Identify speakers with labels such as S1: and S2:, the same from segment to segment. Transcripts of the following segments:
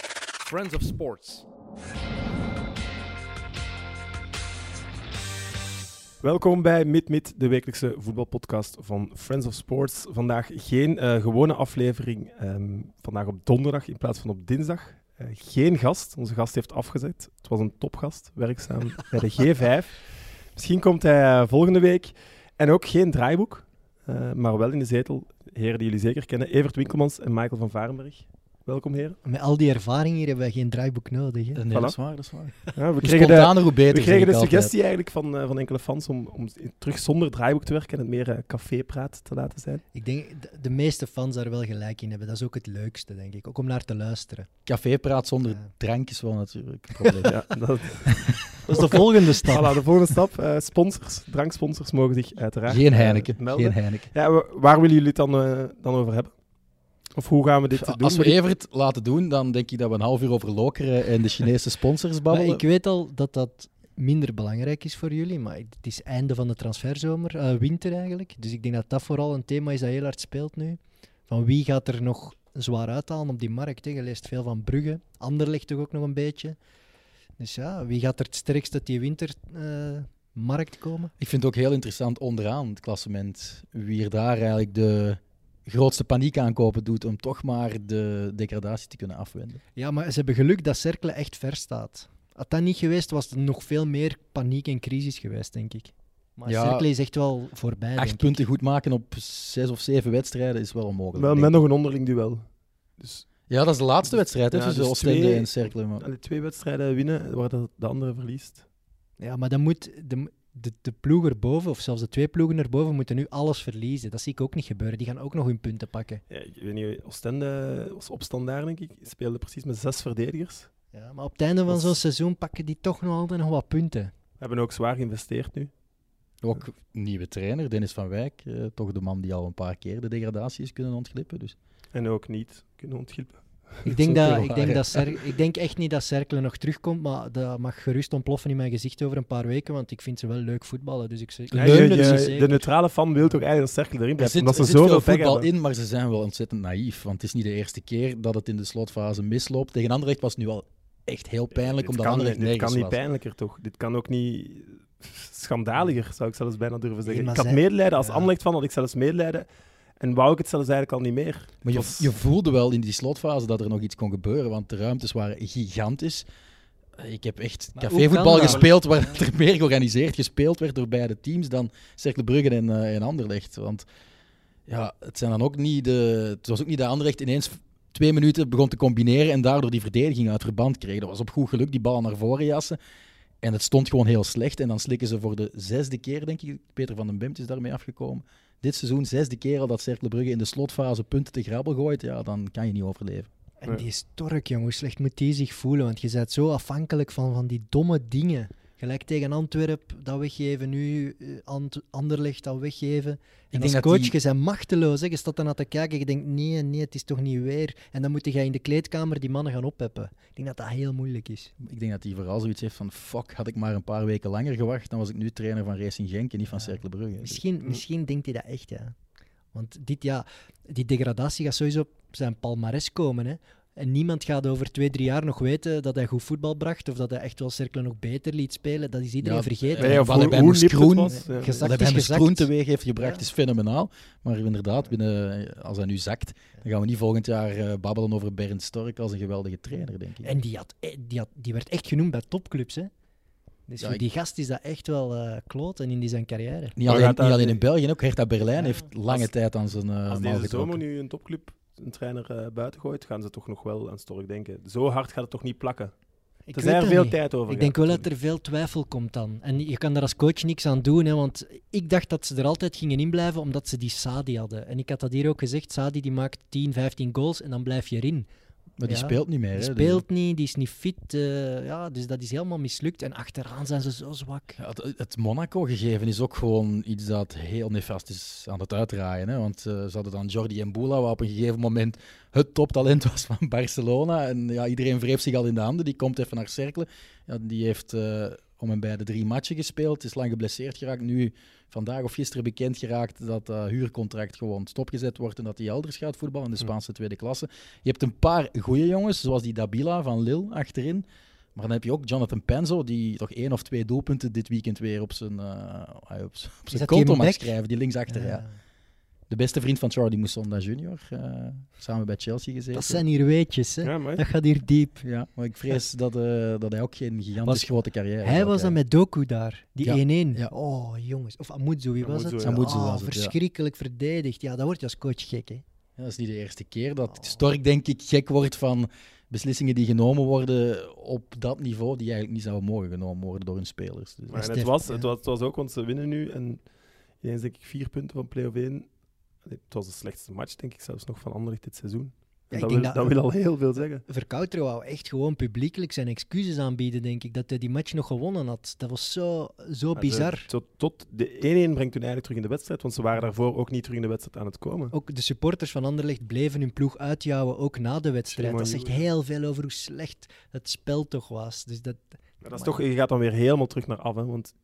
S1: Friends of Sports.
S2: Welkom bij Mid Mid, de wekelijkse voetbalpodcast van Friends of Sports. Vandaag geen eh, gewone aflevering, ehm, vandaag op donderdag in plaats van op dinsdag. Eh, geen gast, onze gast heeft afgezet. Het was een topgast, werkzaam bij de G5. Misschien komt hij eh, volgende week. En ook geen draaiboek, eh, maar wel in de zetel. Heren die jullie zeker kennen, Evert Winkelmans en Michael van Varenberg. Welkom heren.
S3: Met al die ervaring hier hebben wij geen draaiboek nodig. Hè?
S4: Nee,
S2: Voilà.
S4: dat is waar, dat is waar.
S2: Ja, we
S4: Hoe
S2: kregen de,
S4: spontaner, hoe beter.
S2: we
S4: zeg
S2: kregen
S4: ik
S2: de
S4: altijd.
S2: suggestie eigenlijk van, eh, van enkele fans om, om terug zonder draaiboek te werken en het meer eh, cafépraat te laten zijn.
S3: Ik denk dat de meeste fans daar wel gelijk in hebben. Dat is ook het leukste, denk ik. Ook om naar te luisteren.
S4: Cafépraat zonder
S3: Ja.
S4: drank is wel natuurlijk een probleem.
S2: Ja, dat,
S3: Dat is de volgende stap.
S2: voilà, de volgende stap. eh, sponsors, dranksponsors mogen zich uiteraard
S4: Geen
S2: eh,
S4: Heineken.
S2: melden.
S4: Geen Heineken.
S2: Ja, wa- waar willen jullie het dan, eh, dan over hebben? Of hoe gaan we dit doen?
S4: Ah, Als we
S2: Wil je-
S4: Evert laten doen, dan denk ik dat we een half uur over lokeren en de Chinese sponsors
S3: Maar
S4: babbelen.
S3: ik weet al dat dat minder belangrijk is voor jullie. Maar het is einde van de transferzomer, eh, winter eigenlijk. Dus ik denk dat dat vooral een thema is dat heel hard speelt nu. Van wie gaat er nog zwaar uithalen op die markt? Hè? Je leest veel van Brugge. Anderlecht toch ook nog een beetje. Dus ja, wie gaat er het sterkst uit die wintermarkt komen?
S4: Ik vind het ook heel interessant onderaan het klassement wie er daar eigenlijk de grootste paniek aankopen doet om toch maar de degradatie te kunnen afwenden.
S3: Ja, maar ze hebben geluk dat Cercle echt ver staat. Had dat niet geweest, was er nog veel meer paniek en crisis geweest, denk ik. Maar
S4: Ja.
S3: Cercle is echt wel voorbij. denk
S4: Acht
S3: ik.
S4: punten goed maken op zes of zeven wedstrijden is wel onmogelijk.
S2: Wel,
S4: denk
S2: met
S4: ik.
S2: nog een onderling duel. Dus
S4: Ja, dat is de laatste wedstrijd hè,
S2: Ja,
S4: tussen
S2: dus
S4: Oostende
S2: twee-
S4: en Cercle. maar-
S2: allee, twee wedstrijden winnen waar de, de andere verliest.
S3: Ja, maar dan moet de, de, de ploeg erboven, of zelfs de twee ploegen erboven, moeten nu alles verliezen. Dat zie ik ook niet gebeuren. Die gaan ook nog hun punten pakken.
S2: Ja, ik weet niet, Oostende was op standaard, denk ik. Speelde precies met zes verdedigers.
S3: Ja, maar op het einde van
S2: Dat is-
S3: zo'n seizoen pakken die toch nog altijd nog wat punten.
S2: Hebben ook zwaar geïnvesteerd nu.
S4: Ook nieuwe trainer, Dennis van Wijk. eh, toch de man die al een paar keer de degradatie is kunnen ontglippen. Dus.
S2: En ook niet kunnen ontglippen.
S3: Ik
S4: ook
S3: denk, dat,
S4: heel
S3: ik,
S4: waar,
S3: denk
S4: hè.
S3: dat Cer- ik denk echt niet dat Cercle nog terugkomt, maar dat mag gerust ontploffen in mijn gezicht over een paar weken, want ik vind ze wel leuk voetballen. Dus ik, ze- ik
S2: Ja,
S3: leun
S2: je-
S3: het
S2: je-
S3: ze zeker.
S2: de neutrale fan wil toch eigenlijk een cirkel erin
S4: Er
S2: blijft,
S4: zit,
S2: omdat
S4: er
S2: ze
S4: zit
S2: zoveel
S4: veel
S2: pech
S4: voetbal
S2: hebben.
S4: in, maar ze zijn wel ontzettend naïef. Want het is niet de eerste keer dat het in de slotfase misloopt. Tegen Anderlecht was het nu al echt heel pijnlijk,
S2: Dit
S4: omdat
S2: Eh, kan,
S4: Anderlecht
S2: Dit kan
S4: nergens
S2: niet
S4: was.
S2: pijnlijker, toch? Dit kan ook niet schandaliger, zou ik zelfs bijna durven zeggen.
S3: maar
S2: ik had
S3: zij-
S2: medelijden, als
S3: ja.
S2: Anderlecht van had ik zelfs medelijden. En wou ik het zelfs eigenlijk al niet meer.
S4: Maar je,
S2: was-
S4: je voelde wel in die slotfase dat er nog iets kon gebeuren, want de ruimtes waren gigantisch. Eh, Ik heb echt
S3: Maar hoe
S4: cafévoetbal
S3: kan dat?
S4: gespeeld waar er meer georganiseerd gespeeld werd door beide teams dan Cercle Brugge en, eh, en Anderlecht. Want ja, het, zijn dan ook niet de, het was ook niet dat Anderlecht ineens twee minuten begon te combineren en daardoor die verdediging uit verband kreeg. Dat was op goed geluk, die bal naar voren jassen. En het stond gewoon heel slecht. En dan slikken ze voor de zesde keer, denk ik. Peter van den Bemt is daarmee afgekomen. Dit seizoen zesde keer al dat Cercle Brugge in de slotfase punten te grabbel gooit. Ja, dan kan je niet overleven.
S3: En die stork, jongen, hoe slecht moet die zich voelen? Want je bent zo afhankelijk van, van die domme dingen. Gelijk tegen Antwerpen, dat weggeven, nu eh, Ant- Anderlecht, dat weggeven. En
S4: denk
S3: als
S4: dat
S3: coach,
S4: die-
S3: je bent machteloos. Hè. Je staat daarna te kijken, je denkt, nee, nee, het is toch niet weer. En dan moet je in de kleedkamer die mannen gaan opheppen. Ik denk dat dat heel moeilijk is.
S4: Ik denk dat hij vooral zoiets heeft van... Fuck, had ik maar een paar weken langer gewacht... dan was ik nu trainer van Racing Genk en niet van
S3: Ja.
S4: Cercle Brugge. Dus
S3: Misschien, misschien denkt hij dat echt, ja. Want dit, ja, die degradatie gaat sowieso op zijn palmares komen, hè. En niemand gaat over twee, drie jaar nog weten dat hij goed voetbal bracht of dat hij echt wel cirkelen nog beter liet spelen. Dat is iedereen
S4: Ja,
S3: vergeten.
S4: eh,
S2: Ja,
S4: wat
S2: voor
S4: hij bij
S2: hoe
S4: moest
S2: nipt het
S4: groen-
S2: was, ja.
S3: Gezakt
S4: Dat
S3: is
S4: hij
S3: gezakt.
S4: groen teweeg heeft gebracht
S3: Ja.
S4: is fenomenaal. Maar inderdaad, binnen, als hij nu zakt... dan gaan we niet volgend jaar eh, babbelen over Bernd Stork... als een geweldige trainer, denk ik.
S3: En die, had, eh, die, had, die werd echt genoemd bij topclubs, hè. Dus
S4: Ja,
S3: voor
S4: ik-
S3: die gast is dat echt wel eh kloot en in die zijn carrière.
S4: Niet
S2: Maar
S4: alleen,
S2: gaat
S4: niet
S2: dat-
S4: alleen in België, ook Hertha Berlijn
S3: Ja.
S4: heeft lange
S2: Als-
S4: tijd aan zijn eh
S2: Als
S4: mouw
S2: deze
S4: getrokken.
S2: zomer nu een topclub een trainer eh, buiten gooit, gaan ze toch nog wel aan Stork denken. Zo hard gaat het toch niet plakken. Er
S3: Ik weet
S2: zijn er
S3: dat
S2: veel
S3: niet.
S2: tijd over.
S3: Ik denk wel dat er veel twijfel komt dan. En je kan daar als coach niks aan doen, hè, want ik dacht dat ze er altijd gingen inblijven omdat ze die Sadi hadden. En ik had dat hier ook gezegd, Sadi die maakt 10, 15 goals en dan blijf je erin.
S4: Maar die
S3: Ja.
S4: speelt niet meer.
S3: Die
S4: hè, dus-
S3: speelt niet, die is niet fit, eh, ja, dus dat is helemaal mislukt. En achteraan zijn ze zo zwak.
S4: Ja, het, het Monaco-gegeven is ook gewoon iets dat heel nefast is aan het uitdraaien. Hè? Want eh, ze hadden dan Jordi Mboula, wat op een gegeven moment het toptalent was van Barcelona. En ja, iedereen wreef zich al in de handen. Die komt even naar Cercle. Ja, die heeft eh, om en bij de drie matchen gespeeld. Is lang geblesseerd geraakt. Nu vandaag of gisteren bekend geraakt dat dat huurcontract gewoon stopgezet wordt en dat hij elders gaat voetballen in
S3: Hm.
S4: de
S2: Ja.
S4: Spaanse tweede klasse. Je hebt een paar goede jongens, zoals die Dabila van Lille achterin. Maar dan heb je ook Jonathan Penzo, die toch één of twee doelpunten dit weekend weer op zijn, eh op zijn, op zijn
S3: dat die
S4: konto mag
S3: back?
S4: schrijven, die linksachter. Ja.
S3: Ja.
S4: De beste vriend van Charlie Moussonda junior, eh, samen bij Chelsea gezeten.
S3: Dat zijn hier weetjes, hè.
S2: Ja, maar
S3: Dat gaat hier diep.
S4: Ja, maar ik vrees dat, eh, dat hij ook geen gigantisch
S3: Was-
S4: grote carrière
S3: Hij
S4: had,
S3: was
S4: ja.
S3: dan met Doku daar, die
S4: Ja.
S3: 1-1.
S4: Ja.
S3: Oh, jongens. Of Amudzo, wie was
S2: Amudzo,
S3: het?
S2: ja.
S4: Amudzo
S3: Ah,
S4: was het, ja.
S3: verschrikkelijk verdedigd. Ja, dat wordt je als coach gek, hè.
S4: Ja, dat is niet de eerste keer dat
S3: Oh.
S4: Stork, denk ik, gek wordt van beslissingen die genomen worden op dat niveau, die eigenlijk niet zouden mogen genomen worden door hun spelers.
S2: Maar
S4: Dus,
S3: Dat
S2: en
S3: is
S2: het,
S3: deft,
S2: was,
S3: ja.
S2: het, was, het was ook, want ze winnen nu. En ineens denk ik vier punten van play-off 1. Het was de slechtste match, denk ik, zelfs nog van Anderlecht dit seizoen.
S3: Ja,
S2: dat,
S3: ik
S2: wil,
S3: denk dat-
S2: dat wil al heel veel zeggen.
S3: Verkouter wou echt gewoon publiekelijk zijn excuses aanbieden, denk ik. Dat hij die match nog gewonnen had. Dat was zo, zo
S2: Maar ze-
S3: bizar.
S2: Tot, tot de 1-1 brengt hun eigenlijk terug in de wedstrijd, want ze waren daarvoor ook niet terug in de wedstrijd aan het komen.
S3: Ook de supporters van Anderlecht bleven hun ploeg uitjouwen, ook na de wedstrijd.
S2: Shame on
S3: Dat zegt
S2: you,
S3: heel veel over hoe slecht het spel toch was. Dus dat,
S2: Maar dat is
S3: Maar-
S2: toch, je gaat dan weer helemaal terug naar af, hè, want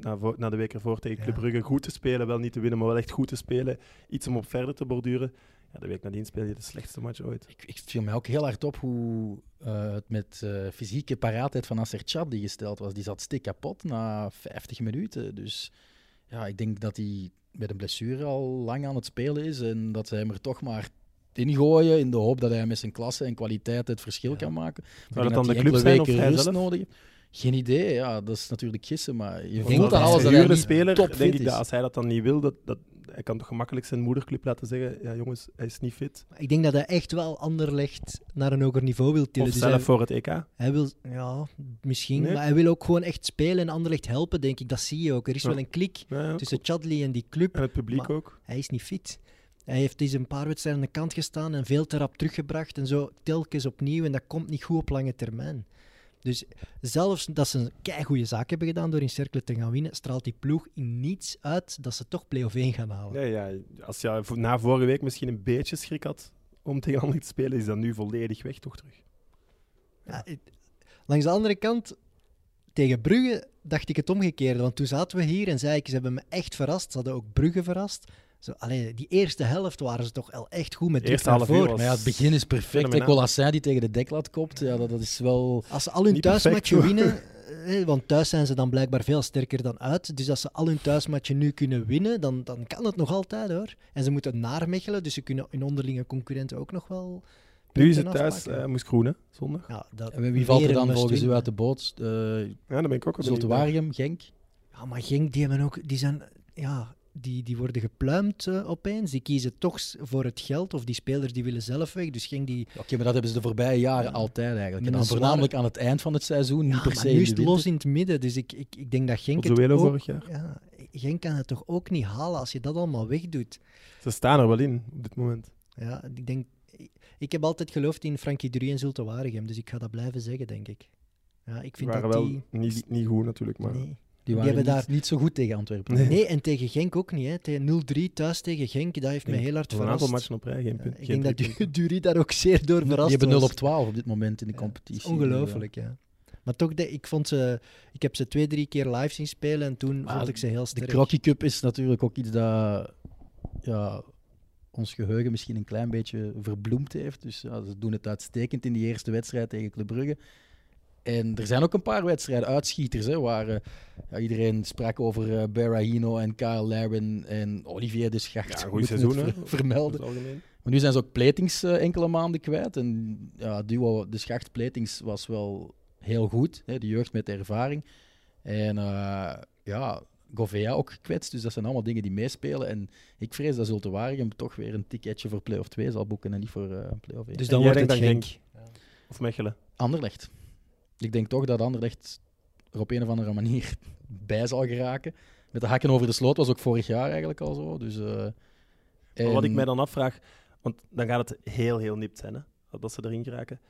S2: na, vo- na de week ervoor tegen Club
S3: Ja.
S2: Brugge goed te spelen, wel niet te winnen, maar wel echt goed te spelen, iets om op verder te borduren. Ja, de week nadien speel je de slechtste match ooit.
S4: ik, ik viel mij ook heel hard op hoe eh, het met eh, fysieke paraatheid van Nasser Chad die gesteld was. Die zat stik kapot na 50 minuten. Dus ja, ik denk dat hij met een blessure al lang aan het spelen is en dat ze hem er toch maar ingooien in de hoop dat hij met zijn klasse en kwaliteit het verschil
S2: Ja.
S4: kan maken. Ik
S2: Zou
S4: denk
S2: dat dan de
S4: die
S2: club
S4: enkele
S2: zijn of
S4: weken
S2: hij
S4: rust
S2: zelf?
S4: nodig heeft. Geen idee, ja, dat is natuurlijk gissen, maar je
S3: denk
S4: voelt
S3: dat
S4: aan
S3: hij
S4: alles
S3: een
S4: dat hij
S2: gehuurde
S4: niet
S2: speler,
S4: topfit
S2: denk ik
S4: is.
S2: dat als hij dat dan niet wil, dat, dat, hij kan toch gemakkelijk zijn moederclub laten zeggen, ja jongens, hij is niet fit.
S3: ik denk dat hij echt wel Anderlecht naar een hoger niveau wil tillen.
S2: Of
S3: Dus
S2: zelf
S3: hij-
S2: voor het EK. Maar
S3: Hij wil, ja, misschien.
S2: Nee?
S3: Maar hij wil ook gewoon echt spelen en Anderlecht helpen, denk ik. Dat zie je ook. Er is
S2: Ja.
S3: wel een klik
S2: ja,
S3: tussen Chadli en die club.
S2: En het publiek
S3: Maar-
S2: ook.
S3: Hij is niet fit. Hij heeft eens een paar wedstrijden aan de kant gestaan en veel te rap teruggebracht en zo telkens opnieuw. En dat komt niet goed op lange termijn. Dus zelfs dat ze een keigoede zaak hebben gedaan door in cirkelen te gaan winnen, straalt die ploeg in niets uit dat ze toch play-off 1 gaan halen.
S2: Nee, ja, als je vo- na vorige week misschien een beetje schrik had om tegen Anderlecht te spelen, is dat nu volledig weg toch terug.
S3: Ja, het- langs de andere kant, tegen Brugge dacht ik het omgekeerde. Want toen zaten we hier en zei ik, ze hebben me echt verrast. Ze hadden ook Brugge verrast. Zo, allee, die eerste helft waren ze toch al echt goed met druk
S2: Eerste
S3: naar
S2: half uur
S3: voren.
S2: was-
S4: Maar ja, het begin is perfect. En
S2: Fenomenaal.
S4: Colassin die tegen de deklaat kopt, ja, dat, dat is wel...
S3: Als ze al hun
S2: Niet perfect,
S3: thuismatchen
S2: hoor.
S3: winnen, eh, want thuis zijn ze dan blijkbaar veel sterker dan uit. Dus als ze al hun thuismatchen nu kunnen winnen, dan, dan kan het nog altijd hoor. En ze moeten naar Mechelen, dus ze kunnen hun onderlinge concurrenten ook nog wel.
S2: Nu is
S3: punten
S2: het thuis,
S3: afpakken.
S2: eh moest groenen, zondag.
S3: Ja, dat
S4: En wie valt er
S3: weer een
S4: dan volgens
S3: must-win.
S4: u uit de boot? Eh
S2: Ja, dan ben ik ook wel benieuwd.
S4: Zultuarium, Genk?
S3: Ja, maar Genk, die hebben ook... Die zijn... Ja, die, die worden gepluimd eh, opeens. Die kiezen toch s- voor het geld. Of die spelers die willen zelf weg. Dus Genk die...
S4: Oké, maar dat hebben ze de voorbije jaren altijd eigenlijk. En
S3: Met
S4: dan
S3: een zware-
S4: voornamelijk aan het eind van het seizoen, niet
S3: Ja,
S4: per
S3: maar
S4: se
S3: nu
S4: in
S3: is
S4: de
S3: het
S4: winter.
S3: los in het midden. Dus ik, ik, ik denk dat Genk het
S2: Pozuelo
S3: ook-
S2: vorig jaar.
S3: Ja, Genk kan het toch ook niet halen als je dat allemaal wegdoet.
S2: Ze staan er wel in op dit moment.
S3: Ja, ik denk... Ik heb altijd geloofd in Frankie Dury en Zulte Waregem. Dus ik ga dat blijven zeggen, denk ik. Ja, ik
S2: Die
S3: vind
S2: waren
S3: dat
S2: wel
S3: die...
S2: niet, niet goed natuurlijk, maar...
S3: Nee.
S4: Die
S3: Die
S4: waren
S3: hebben
S4: niet, niet zo goed tegen Antwerpen.
S2: Nee.
S3: nee, en tegen Genk ook niet. Hè. Tegen 0-3 thuis tegen Genk, dat heeft me
S2: Denk-
S3: heel hard
S2: Dat was een aantal
S3: verrast.
S2: matchen op rij, geen
S3: Ja,
S2: punt.
S3: ik
S2: geen
S3: denk dat
S2: drie punten.
S3: Du- Dury daar ook zeer door verrast
S4: Die hebben 0
S3: was.
S4: op 12 op dit moment in de
S3: Ja,
S4: competitie.
S3: Ongelooflijk, ja. Maar toch, de- ik, vond ze, ik heb ze twee, drie keer live zien spelen en toen
S4: Maar
S3: vond ik ze heel
S4: De
S3: sterk.
S4: Crocky Cup is natuurlijk ook iets dat ja, ons geheugen misschien een klein beetje verbloemd heeft. Dus ja, ze doen het uitstekend in die eerste wedstrijd tegen Club Brugge. En er zijn ook een paar wedstrijden, uitschieters, hè, waar eh, ja, iedereen sprak over eh, Berahino en Kyle Laren en Olivier de Schacht.
S2: Ja, goed
S4: Moeten we
S2: seizoen,
S4: het
S2: hè?
S4: ver- Vermelden.
S2: Over het algemeen.
S4: Maar nu zijn ze ook Pletings eh, enkele maanden kwijt. En ja, het duo De Schacht Pletings was wel heel goed. Hè, de jeugd met ervaring. En eh, ja, Govea ook gekwetst. Dus dat zijn allemaal dingen die meespelen. En ik vrees dat Zulte Waregem toch weer een ticketje voor play-off 2 zal boeken en niet voor eh play-off 1.
S3: Dus
S2: En
S3: dan
S2: jij
S3: wordt het
S2: denkt dan
S3: Genk.
S2: Of Mechelen.
S4: Anderlecht. Ik denk toch dat Anderlecht er op een of andere manier bij zal geraken. Met de hakken over de sloot was ook vorig jaar eigenlijk al zo. Dus, eh,
S2: Maar wat ik
S4: en-
S2: mij dan afvraag, want dan gaat het heel, heel nipt zijn, hè, dat ze erin geraken.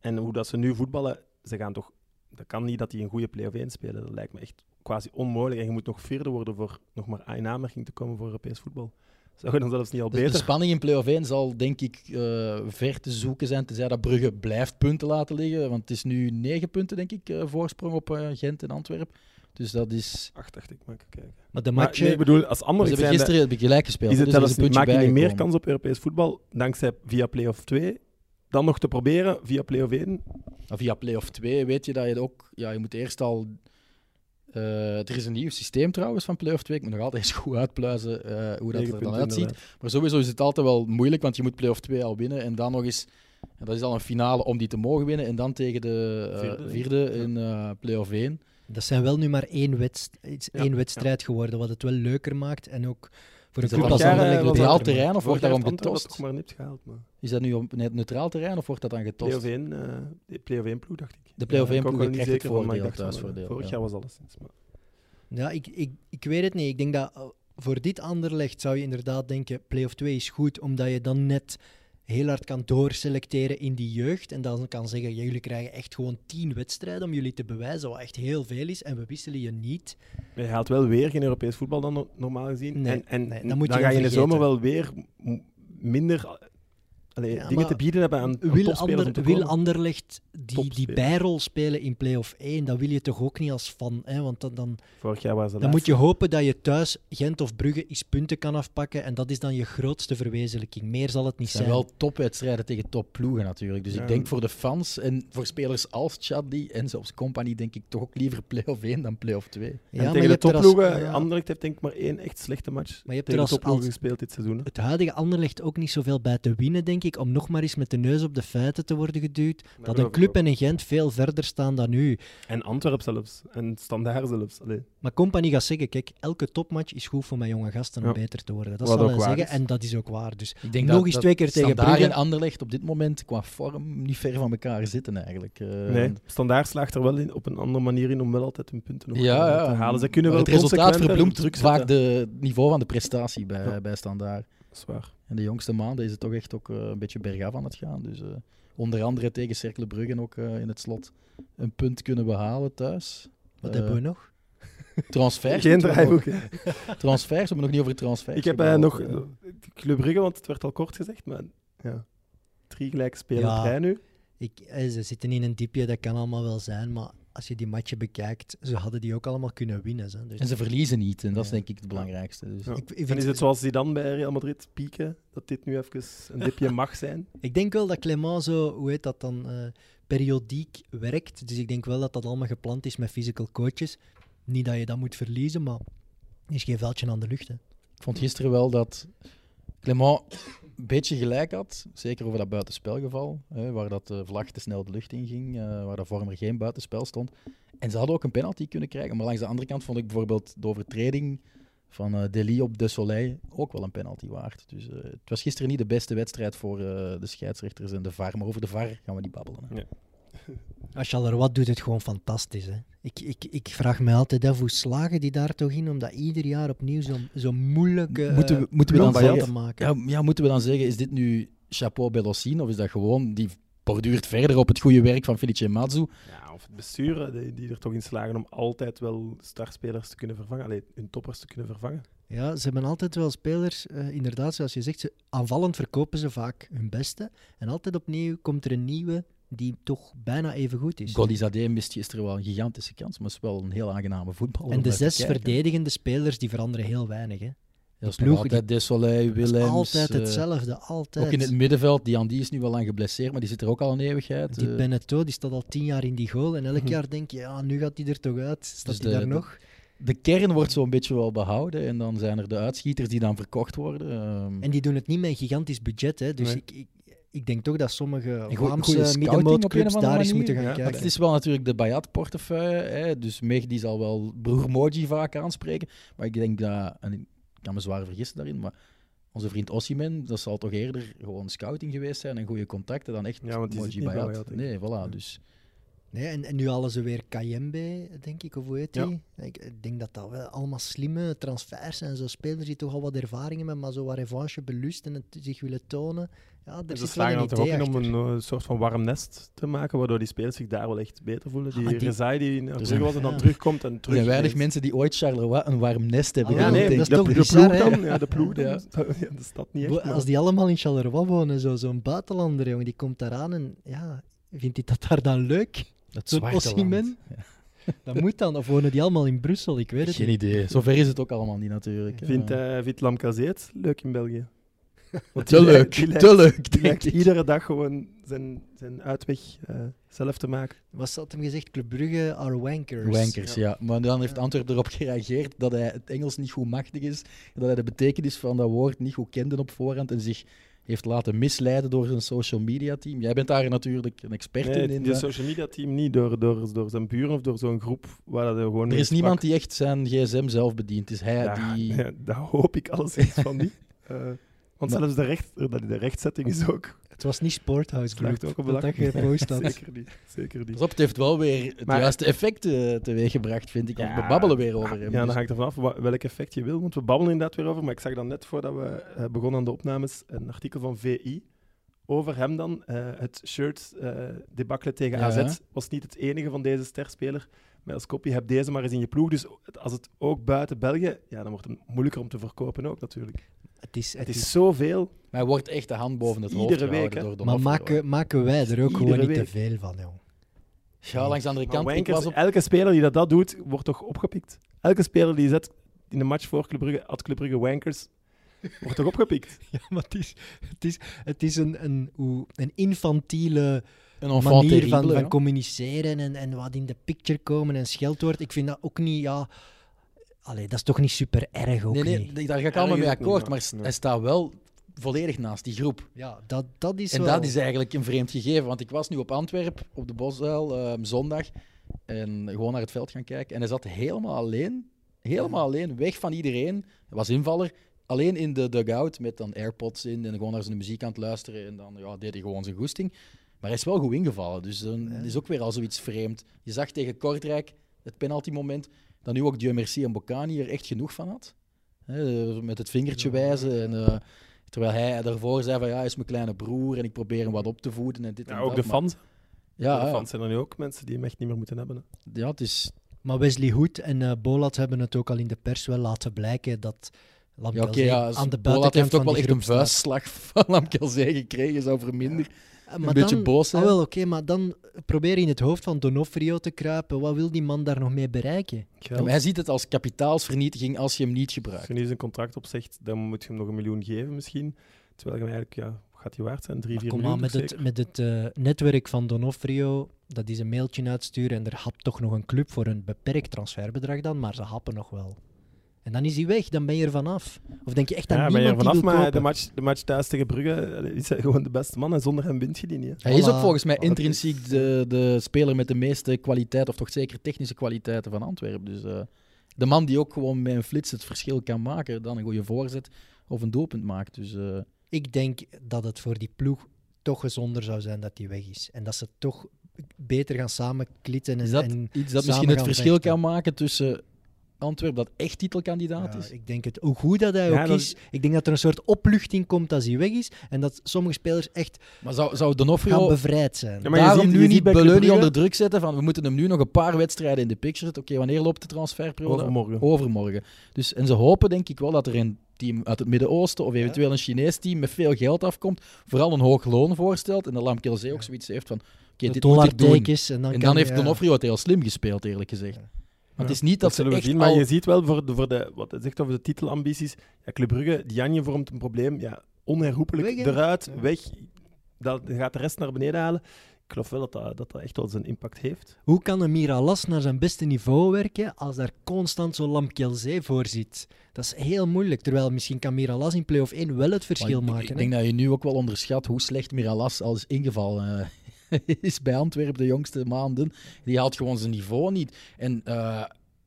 S2: En hoe dat ze nu voetballen, ze gaan toch... Dat kan niet dat die een goede play-off 1 spelen. Dat lijkt me echt quasi onmogelijk. En je moet nog vierde worden voor nog maar in aanmerking te komen voor Europees voetbal. Dus Zou je dan zelfs niet al
S4: Dus de
S2: beter?
S4: spanning in play-off 1 zal denk ik eh, ver te zoeken zijn, tenzij dat Brugge blijft punten laten liggen. Want het is nu 9 punten, denk ik, eh, voorsprong op eh, Gent en Antwerpen. Dus dat is...
S2: Acht, dacht ik, maar ik kijk.
S3: Maar de
S2: Maar,
S3: matchen...
S2: nee, ik bedoel, als
S4: We
S2: ander
S4: hebben
S2: zijn
S4: gisteren heb ik gelijk gespeeld.
S2: is
S4: hè,
S2: het
S4: dus er
S2: zelfs,
S4: is een puntje
S2: maak je niet meer
S4: bijgekomen.
S2: kans op Europees voetbal dankzij via play-off 2 dan nog te proberen via play-off 1.
S4: Maar via play-off 2 weet je dat je ook... Ja, je moet eerst al... eh, er is een nieuw systeem trouwens van play-off 2. Ik moet nog altijd eens goed uitpluizen eh, hoe dat
S2: Negen
S4: er dan
S2: punten,
S4: uitziet.
S2: inderdaad.
S4: Maar sowieso is het altijd wel moeilijk, want je moet play-off 2 al winnen. En dan nog eens, en dat is al een finale om die te mogen winnen. En dan tegen de eh,
S2: Vierde.
S4: vierde, in eh play-off 1.
S3: Dat zijn wel nu maar één, wedst het is
S2: Ja,
S3: één wedstrijd geworden, wat het wel leuker maakt. En ook voor een
S4: Is
S2: dat
S3: club
S2: vorig
S3: als
S2: jaar,
S3: Anderlecht
S2: eh,
S3: leuker
S4: ideaal
S3: maakt.
S4: terrein of wordt
S2: Vorig jaar
S4: daarom
S2: heeft Antwerpen dat
S4: getost?
S2: toch maar niet gehaald. Maar
S4: Is dat nu op net neutraal terrein of wordt dat dan getost?
S2: play-off 1, eh, play-off 1 ploeg, dacht ik.
S4: De play-off
S2: Ja,
S4: 1
S2: ik ook
S4: ploeg
S2: wel niet
S4: krijgt het
S2: zeker van, maar ik
S4: voordeel,
S2: dacht van,
S4: thuisvoordeel.
S2: eh, Vorig
S4: ja.
S2: jaar was alles. Sinds, maar
S3: Ja, ik, ik, ik weet het niet. Ik denk dat eh, voor dit Anderlecht zou je inderdaad denken, play-off 2 is goed, omdat je dan net heel hard kan doorselecteren in die jeugd. En dan kan zeggen, ja, jullie krijgen echt gewoon tien wedstrijden om jullie te bewijzen, wat echt heel veel is. En we wisselen je niet.
S2: Maar je haalt wel weer geen Europees voetbal dan no- normaal gezien.
S3: Nee,
S2: en en
S3: nee, dat moet je
S2: dan ga je
S3: dan
S2: in de
S3: vergeten.
S2: zomer wel weer m- minder eh, allee,
S3: Ja,
S2: dingen
S3: maar
S2: te bieden hebben aan, aan
S3: Wil,
S2: topspelers om te
S3: Ander, wil
S2: komen.
S3: Anderlecht die, die
S2: Topspelers.
S3: bijrol spelen in play-off 1, dat wil je toch ook niet als fan, hè? want dan... dan
S2: Vorig jaar waren ze
S3: Dan
S2: laatste.
S3: moet je hopen dat je thuis Gent of Brugge eens punten kan afpakken. En dat is dan je grootste verwezenlijking. Meer zal het niet
S4: Het zijn
S3: zijn.
S4: wel topwedstrijden tegen topploegen natuurlijk. Dus
S2: Ja.
S4: ik denk voor de fans en voor spelers als Chadli en zelfs Company denk ik toch ook liever play-off 1 dan play-off 2.
S3: Ja,
S2: en
S3: je
S2: tegen de
S3: hebt er als-
S2: topploegen,
S3: ja,
S2: Anderlecht heeft denk ik maar één echt slechte match
S3: Maar je hebt
S2: tegen
S3: er
S2: de
S3: als-
S2: topploegen
S3: als-
S2: gespeeld dit seizoen. hè.
S3: het huidige Anderlecht ook niet zoveel bij te winnen, denk ik. Om nog maar eens met de neus op de feiten te worden geduwd. dat
S2: geloof
S3: een
S2: ik ook.
S3: club en een Gent veel verder staan dan nu.
S2: En Antwerp zelfs. En Standaard zelfs. Allee.
S3: Maar Company gaat zeggen: kijk, elke topmatch is goed voor mijn jonge gasten
S2: Ja.
S3: om beter te worden. Dat
S2: Wat
S3: zal
S2: ook
S3: hij
S2: waar
S3: zeggen.
S2: is.
S3: En dat is ook waar. Dus
S4: Ik denk
S3: Nog eens twee keer tegen
S4: Standaard
S3: Brugge.
S4: en Anderlecht op dit moment qua vorm niet ver van elkaar zitten eigenlijk. Eh,
S2: nee, Standaard slaagt er wel in, op een andere manier in om wel altijd hun punten nog
S4: Ja,
S2: eh,
S4: ja.
S2: te halen. Ze kunnen wel
S4: maar het resultaat
S2: consequenter
S4: verbloemt
S2: druk
S4: vaak
S2: zetten.
S4: de- het niveau van de prestatie bij,
S2: Ja.
S4: bij Standaard.
S2: Dat is waar.
S4: En de jongste maanden is het toch echt ook eh, een beetje bergaf aan het gaan. Dus eh, onder andere tegen Cercle Brugge ook eh, in het slot een punt kunnen behalen thuis.
S3: wat
S4: Eh,
S3: hebben we nog?
S4: Transfers.
S2: Geen
S4: moeten we nog-
S2: draaiboek. hè.
S4: Transfers, we hebben nog niet over transfers.
S2: Ik heb eh,
S4: gebabbeld,
S2: nog
S4: eh.
S2: eh, Club Brugge, want het werd al kort gezegd, maar ja. drie gelijk spelen
S3: Ja.
S2: op rij nu.
S3: Ik, eh, ze zitten in een diepje, dat kan allemaal wel zijn. Maar als je die matchen bekijkt, ze hadden die ook allemaal kunnen winnen. Hè? Dus
S4: En ze verliezen niet, en dat is
S3: Ja.
S4: denk ik het belangrijkste. Dus.
S2: Ja.
S3: ik, ik
S2: En
S3: vind
S2: is het zoals die dan bij Real Madrid pieken, dat dit nu even een dipje mag zijn?
S3: Ik denk wel dat Clement zo, hoe heet dat dan, eh, periodiek werkt. Dus ik denk wel dat dat allemaal gepland is met physical coaches. Niet dat je dat moet verliezen, maar er is geen veldje aan de lucht. Hè.
S4: Ik vond gisteren wel dat Clement een beetje gelijk had. Zeker over dat buitenspelgeval, hè, waar dat de vlag te snel de lucht in ging, eh, waar dat Vormer geen buitenspel stond. En ze hadden ook een penalty kunnen krijgen. Maar langs de andere kant vond ik bijvoorbeeld de overtreding van eh Deli op De Soleil ook wel een penalty waard. Dus eh, het was gisteren niet de beste wedstrijd voor eh, de scheidsrechters en de VAR. Maar over de VAR gaan we niet babbelen. hè.
S3: Als je al er wat doet, het gewoon fantastisch. Hè. Ik, ik, ik vraag me altijd af hoe slagen die daar toch in om dat ieder jaar opnieuw zo'n zo moeilijke eh,
S4: Moeten we- moeten we dan
S3: ploeg van
S2: zeggen-
S3: te maken.
S4: Ja, ja, moeten we dan zeggen, is dit nu chapeau Bellossine of is dat gewoon, die borduurt verder op het goede werk van Felice Mazzu?
S2: Ja, of het besturen, die, die er toch in slagen om altijd wel starspelers te kunnen vervangen, alleen hun toppers te kunnen vervangen.
S3: Ja, ze hebben altijd wel spelers, eh, inderdaad, zoals je zegt, ze, aanvallend verkopen ze vaak hun beste. En altijd opnieuw komt er een nieuwe die toch bijna even goed is.
S4: Golizade mist gisteren wel een gigantische kans, maar is wel een heel aangename voetbal.
S3: En de zes verdedigende spelers die veranderen heel weinig. Hè.
S4: Dat is nog
S3: ploegen,
S4: altijd Desolé,
S3: Dat is
S4: Willems.
S3: altijd
S4: eh,
S3: hetzelfde, altijd.
S4: ook in het middenveld, die Andy is nu wel lang geblesseerd, maar die zit er ook al een eeuwigheid.
S3: die
S4: eh.
S3: Benetto die staat al tien jaar in die goal en elk
S2: Mhm.
S3: jaar denk je, ja, nu gaat hij er toch uit. Staat
S4: Dus
S3: hij
S4: de-
S3: daar
S4: de-
S3: nog?
S4: de kern wordt zo'n beetje wel behouden en dan zijn er de uitschieters die dan verkocht worden. ehm.
S3: En die doen het niet met een gigantisch budget. Hè. Dus
S2: Nee.
S3: ik, ik, ik denk toch dat sommige
S4: goeie scouting op
S3: Vlaamse
S4: een
S3: middenmootclubs
S4: of andere
S3: daar eens
S4: manier,
S3: moeten gaan
S2: ja.
S4: Maar het
S3: kijken.
S4: is wel natuurlijk de Bayat-portefeuille. hè, Dus Meg die zal wel broer Moji vaak aanspreken. Maar ik denk dat, en ik kan me zwaar vergissen daarin, maar onze vriend Ossiman, dat zal toch eerder gewoon scouting geweest zijn en goede contacten dan echt
S2: Ja, want die
S4: Moji
S2: zit niet bij
S4: Bayat.
S2: Bayat, denk ik.
S4: nee, voilà.
S2: Ja.
S4: Dus
S3: Nee, en, en nu halen ze weer Kayembe, denk ik, of hoe heet
S2: Ja.
S3: die? Ik ik denk dat dat wel allemaal slimme transfers zijn. Zo spelers die toch al wat ervaring hebben, maar zo wat revanche belust en het zich willen tonen. Ja,
S2: Ze
S3: er zit wel
S2: slagen
S3: een
S2: er toch ook
S3: idee
S2: in om
S3: achter.
S2: een eh, soort van warm nest te maken, waardoor die spelers zich daar wel echt beter voelen. Die,
S3: maar Ah, die-
S2: Rezai die in Brugge
S4: zijn-
S2: was en dan
S3: ja.
S2: terugkomt en
S4: Er
S2: terug.
S4: zijn weinig mensen die ooit Charleroi een warm nest hebben.
S3: Ah,
S2: Ja, nee,
S4: gevoeld,
S2: dat
S3: dat
S2: is
S3: is
S4: denk
S2: de,
S3: toch
S4: ik.
S2: de
S3: bizar,
S2: ploeg
S3: hè?
S2: dan. Ja, de ploeg dan.
S4: Ja.
S2: Ja, De stad niet echt.
S3: Bo-
S2: maar-
S3: Als die allemaal in Charleroi wonen, zo, zo'n buitenlander, jongen, die komt daar aan en ja, vindt hij dat daar dan leuk?
S4: Dat
S3: Zo'n
S4: zwarte land.
S3: Osimhen? Dat moet dan. Of wonen die allemaal in Brussel? Ik weet het
S4: Geen
S3: niet.
S4: idee. Zover is het ook allemaal niet natuurlijk. hè.
S2: Vindt, eh vindt Lamkazé het leuk in België? Want
S4: te
S2: die lijkt-
S4: leuk,
S2: die lijkt-
S4: te leuk,
S2: Die
S4: denk
S2: lijkt
S4: ik.
S2: iedere dag gewoon zijn, zijn uitweg eh, zelf te maken.
S3: Wat had hem gezegd? Club Brugge are wankers.
S4: Wankers, ja. Maar dan heeft Antwerpen erop gereageerd dat hij het Engels niet goed machtig is. Dat hij de betekenis van dat woord niet goed kende op voorhand. En zich heeft laten misleiden door zijn social media team. Jij bent daar natuurlijk een expert
S2: Nee,
S4: in. in
S2: die
S4: dat-
S2: social media team niet door, door, door zijn buren of door zo'n groep waar dat hij gewoon
S4: Er
S2: mee
S4: is
S2: sprak.
S4: niemand die echt zijn gsm zelf bedient. Het is hij
S2: Ja,
S4: die...
S2: ja, daar hoop ik alleszins van niet. Eh, want
S4: Maar-
S2: zelfs de, recht, eh, dat de rechtzetting is ook.
S3: Het was niet Sporthouse Group.
S2: Slaagt ook op
S3: dat
S2: elkaar.
S3: dat gepost had.
S2: Zeker niet. Zeker niet.
S4: Pas op, het heeft wel weer het
S2: Maar-
S4: juiste effect eh, teweeggebracht, vind ik. Want
S2: Ja.
S4: we babbelen weer over
S2: Ja,
S4: hem.
S2: dan
S4: Dus-
S2: hangt er vanaf wa- welk effect je wil. Want we babbelen inderdaad weer over. Maar ik zag dan net voordat we eh, begonnen aan de opnames een artikel van VI. Over hem dan. Eh, het shirt eh debakkelen tegen
S4: Ja.
S2: AZ was niet het enige van deze sterspeler. Maar als kopie heb deze maar eens in je ploeg. Dus het- als het ook buiten België, ja, dan wordt het moeilijker om te verkopen ook natuurlijk.
S3: Het is,
S2: Het is zoveel.
S4: Maar hij wordt echt de hand boven het
S2: Iedere
S4: hoofd gehouden
S2: week, hè.
S4: door Don
S3: maar
S4: Hoffler, hoor.
S3: maken, maken wij er ook
S2: Iedere
S3: gewoon niet
S2: week.
S3: te veel van, jong.
S4: Ja, langs de andere
S2: Maar
S4: kant. Ik
S2: wankers,
S4: was op...
S2: Elke speler die dat, dat doet, wordt toch opgepikt. Elke speler die zet in de match voor Club Brugge, had Club Brugge wankers, wordt toch opgepikt.
S3: Ja, maar het is, het is, het is een, een, hoe- een infantiele
S4: Een enfant
S3: manier
S4: terrible,
S3: van,
S4: hè.
S3: van communiceren en, en wat in de picture komen en scheldwoord. Ik vind dat ook niet, ja... Allee, dat is toch niet super erg ook
S4: Nee, nee,
S3: niet.
S4: nee, daar ga ik
S2: Ja,
S4: allemaal
S2: dat is
S4: mee
S2: ook niet,
S4: akkoord.
S2: ja.
S4: Maar s-
S2: Ja.
S4: hij staat wel volledig naast die groep.
S3: Ja, dat, dat is
S4: en
S3: wel...
S4: dat is eigenlijk een vreemd gegeven. Want ik was nu op Antwerpen, op de Bosuil, ehm, zondag. En gewoon naar het veld gaan kijken. En hij zat helemaal alleen. Helemaal alleen, weg van iedereen. Hij was invaller. Alleen in de dugout met dan AirPods in en gewoon naar zijn muziek aan het luisteren. En dan ja, deed hij gewoon zijn goesting. Maar hij is wel goed ingevallen. Dus dan
S3: Ja.
S4: het is ook weer al zoiets vreemd. Je zag tegen Kortrijk het penaltymoment. Dat nu ook Dieu merci en Bocani er echt genoeg van had. Hè, eh, met het vingertje
S3: Ja.
S4: wijzen. En, eh, terwijl hij daarvoor zei van ja, hij is mijn kleine broer en ik probeer hem wat op te voeden. En dit en
S2: Ja, ook
S4: dat.
S2: de
S4: Maar-
S2: fans.
S4: Ja,
S2: de
S4: ja,
S2: fans zijn er nu ook mensen die hem echt niet meer moeten hebben. hè.
S4: ja, het is
S3: Maar Wesley Hoed en eh Bolat hebben het ook al in de pers wel laten blijken dat
S4: Ja,
S3: Lamkelzee
S4: oké, ja.
S3: aan de
S4: Bolat
S3: buitenkant
S4: heeft ook
S3: van
S4: wel
S3: die
S4: echt
S3: groep
S4: een
S3: staat.
S4: vuistslag van Lamkelzee gekregen, zou verminderen.
S3: Eh,
S4: Een
S3: maar
S4: beetje
S3: dan-
S4: boos, hè?
S3: Ah, wel, oké, maar dan probeer in het hoofd van Donofrio te kruipen. Wat wil die man daar nog mee bereiken?
S4: Ja, maar hij ziet het als kapitaalsvernietiging als je hem niet
S2: Als
S4: gebruikt.
S2: je nu zijn contract opzegt, dan moet je hem nog een miljoen geven misschien. Terwijl je hem eigenlijk, ja, wat gaat hij waard zijn? Drie,
S3: Maar
S2: vier
S3: kom
S2: miljoen
S3: aan, met
S2: toch
S3: het,
S2: zeker?
S3: met het eh, netwerk van Donofrio, dat die een mailtje uitsturen en er hapt toch nog een club voor een beperkt transferbedrag dan, maar ze happen nog wel. En dan is hij weg, dan ben je er vanaf. Of denk je echt dat
S2: Ja, ben je er
S3: niemand die
S2: vanaf,
S3: wil
S2: maar de
S3: kopen?
S2: match, de match thuis tegen Brugge eh, is hij gewoon de beste man. En zonder hem wint je die niet. hè.
S4: Hij is
S3: Voilà.
S4: ook volgens mij
S2: Maar dat is-
S4: intrinsiek de, de speler met de meeste kwaliteit, of toch zeker technische kwaliteiten van Antwerpen. Dus eh, de man die ook gewoon met een flits het verschil kan maken, dan een goede voorzet of een doelpunt maakt. Dus eh,
S3: Ik denk dat het voor die ploeg toch gezonder zou zijn dat die weg is. En dat ze toch beter gaan samenklitten. En,
S4: is dat
S3: en-
S4: iets dat
S3: samen
S4: misschien het
S3: gaan
S4: verschil
S3: vechten.
S4: kan maken tussen Antwerpen dat echt titelkandidaat
S3: Ja,
S4: is?
S3: ik denk het, hoe goed dat hij
S2: Ja,
S3: ook
S2: dat-
S3: is. Ik denk dat er een soort opluchting komt als hij weg is. En dat sommige spelers echt
S4: Maar zou, zou
S3: gaan
S4: Donofrio
S3: bevrijd zijn.
S2: Ja, maar je
S4: daarom
S2: ziet- je
S4: nu
S2: ziet
S4: niet
S2: bij Club
S4: Beleunie
S2: Brugge-
S4: onder druk zetten van we moeten hem nu nog een paar wedstrijden in de picture zetten. Oké, wanneer loopt de transferperiode?
S2: Overmorgen.
S4: overmorgen. Dus, en ze hopen denk ik wel dat er een team uit het Midden-Oosten of eventueel een Chinees team met veel geld afkomt, vooral een hoog loon voorstelt en dat Lamkelzee ook
S3: Ja.
S4: zoiets heeft van oké,
S3: De
S4: dit moet ik doen.
S3: dollartekens. En dan,
S4: En
S3: kan je-
S4: dan heeft Donofrio het heel slim gespeeld, eerlijk gezegd.
S3: Ja.
S4: Want
S2: Ja.
S4: het is niet dat,
S2: Dat zullen
S4: ze
S2: we
S4: echt
S2: zien, maar
S4: al...
S2: je ziet wel voor de, voor de, wat het zegt over de titelambities. Ja, Club Brugge, Dianje vormt een probleem. Ja, onherroepelijk
S3: Weg, hè?
S2: eruit,
S3: Ja.
S2: weg. Dat gaat de rest naar beneden halen. Ik geloof wel dat dat, dat, dat echt wel zijn impact heeft.
S3: Hoe kan een Miralas naar zijn beste niveau werken als daar constant zo'n Lamkelzee voor zit? Dat is heel moeilijk. Terwijl misschien kan Miralas in play-off 1 wel het
S4: Maar
S3: verschil
S4: ik-
S3: maken.
S4: Ik,
S3: hè.
S4: denk dat je nu ook wel onderschat hoe slecht Miralas al is ingevallen. eh, is bij Antwerpen de jongste maanden. Die haalt gewoon zijn niveau niet. En eh,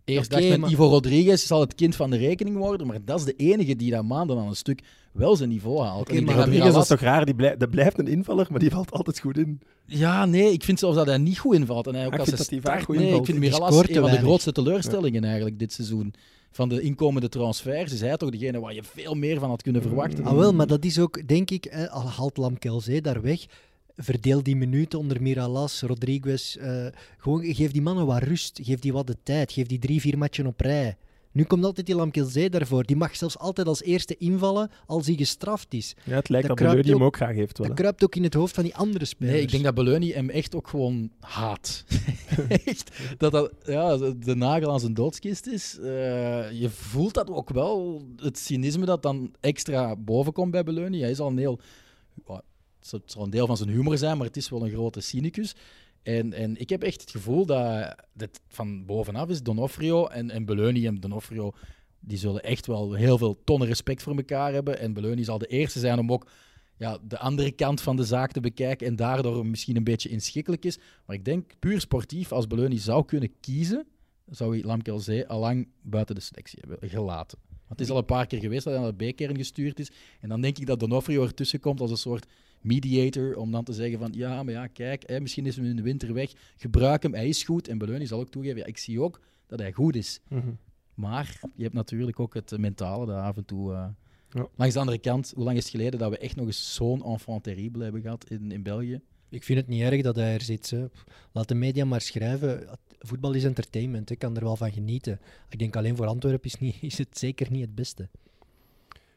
S4: Eerst
S3: Oké,
S4: dacht men,
S3: maar-
S4: Ivo Rodriguez zal het kind van de rekening worden, maar dat is de enige die dat maanden aan een stuk wel zijn niveau haalt.
S3: Oké,
S4: En ik
S3: maar
S4: denk dat
S2: Rodriguez,
S4: Vidal
S2: dat is toch raar? Die blijft, dat blijft een invaller, maar die valt altijd goed in.
S4: Ja, nee, ik vind zelfs dat hij niet goed invalt. En hij ook
S2: Ik
S4: als
S2: vind
S4: hij
S2: dat hij vaak
S4: start-
S2: goed
S4: Nee, ik
S2: invalt.
S4: vind
S3: Die
S4: Miralas
S3: scoort te
S4: een van de
S3: weinig.
S4: grootste teleurstellingen eigenlijk dit seizoen. Van de inkomende transfers is hij toch degene waar je veel meer van had kunnen verwachten.
S3: Ah, wel, maar dat is ook, denk ik, eh, al haalt Lamkelzee daar weg. Verdeel die minuten onder Miralas, Rodriguez. eh, gewoon, geef die mannen wat rust. Geef die wat de tijd. Geef die drie, vier matchen op rij. Nu komt altijd die Lamkelzee daarvoor. Die mag zelfs altijd als eerste invallen als hij gestraft is.
S2: Ja, het lijkt dat
S3: Dat
S2: Beleu
S3: kruipt
S2: die hem
S3: ook-
S2: ook graag heeft. Wel,
S3: Dat
S2: hè.
S3: kruipt ook in het hoofd van die andere spelers.
S4: Nee, ik denk dat Beleuni hem echt ook gewoon haat. echt, dat dat ja, de nagel aan zijn doodskist is. Eh, je voelt dat ook wel, het cynisme dat dan extra boven komt bij Beleuni. Hij is al een heel... ja, Het zal een deel van zijn humor zijn, maar het is wel een grote cynicus. En, en ik heb echt het gevoel dat dit van bovenaf is Donofrio en, en Beleuni en Donofrio... Die zullen echt wel heel veel tonnen respect voor elkaar hebben. En Beleuni zal de eerste zijn om ook ja, de andere kant van de zaak te bekijken en daardoor misschien een beetje inschikkelijk is. Maar ik denk puur sportief, als Beleunie zou kunnen kiezen, zou hij Lamkelzee al lang buiten de selectie hebben gelaten. Want het is al een paar keer geweest dat hij naar de B-kern gestuurd is. En dan denk ik dat Donofrio ertussen komt als een soort mediator om dan te zeggen van ja, maar ja, kijk, hè, misschien is hem in de winter weg. Gebruik hem, hij is goed. En Beleunie zal ook toegeven, ja, ik zie ook dat hij goed is.
S2: Mhm.
S4: Maar je hebt natuurlijk ook het eh, mentale dat af en toe. eh,
S2: Ja.
S4: Langs de andere kant, hoe lang is het geleden dat we echt nog eens zo'n enfant terrible hebben gehad in, in België?
S3: Ik vind het niet erg dat hij er zit. hè. Laat de media maar schrijven. Voetbal is entertainment. Ik kan er wel van genieten. Ik denk alleen voor Antwerpen is, niet, is het zeker niet het beste.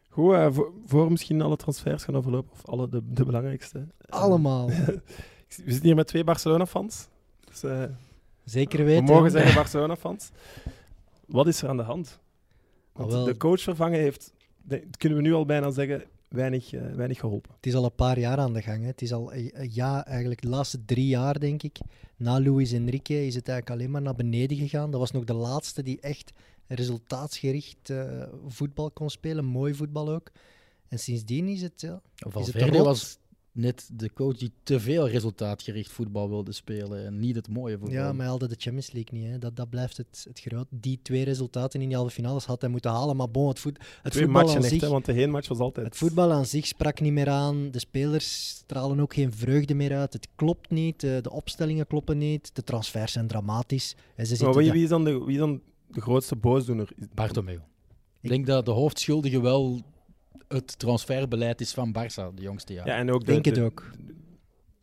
S2: Goed, eh, voor, voor misschien alle transfers gaan overlopen, of alle de, de belangrijkste. Eh,
S3: Allemaal.
S2: ik- we zitten hier met twee Barcelona-fans. Dus, eh,
S3: Zeker
S2: we
S3: weten.
S2: mogen zeggen Barcelona-fans. Wat is er aan de hand? Want
S3: Ah, wel.
S2: de coach vervangen heeft, de- kunnen we nu al bijna zeggen, weinig, eh, weinig geholpen.
S3: Het is al een paar jaar aan de gang. Hè. Het is al een een jaar, eigenlijk de laatste drie jaar, denk ik. Na Luis Enrique is het eigenlijk alleen maar naar beneden gegaan. Dat was nog de laatste die echt resultaatsgericht eh, voetbal kon spelen. Mooi voetbal ook. En sindsdien is het... Ja, Valverde
S4: Valverde was net de coach die te veel resultaatgericht voetbal wilde spelen en niet het mooie voetbal.
S3: ja maar hij haalde de Champions League niet. Hè. Dat, dat blijft het, het groot. Die twee resultaten in die halve finales had hij moeten halen. Maar bon, het, voet, het
S2: Twee
S3: voetbal
S2: matchen
S3: aan
S2: echt,
S3: zich...
S2: hè, want de heenmatch was altijd...
S3: Het voetbal aan zich sprak niet meer aan. De spelers stralen ook geen vreugde meer uit. Het klopt niet. eh, De opstellingen kloppen niet. De transfers zijn dramatisch. En ze
S2: Maar
S3: zitten
S2: wie,
S3: ja,
S2: wie is dan de, wie is dan de grootste boosdoener?
S4: Bartomeu. Ik denk dat de hoofdschuldige wel het transferbeleid is van Barça de jongste jaren.
S2: Ja, en ook
S3: ik
S2: de-
S3: denk het
S2: de-
S3: ook.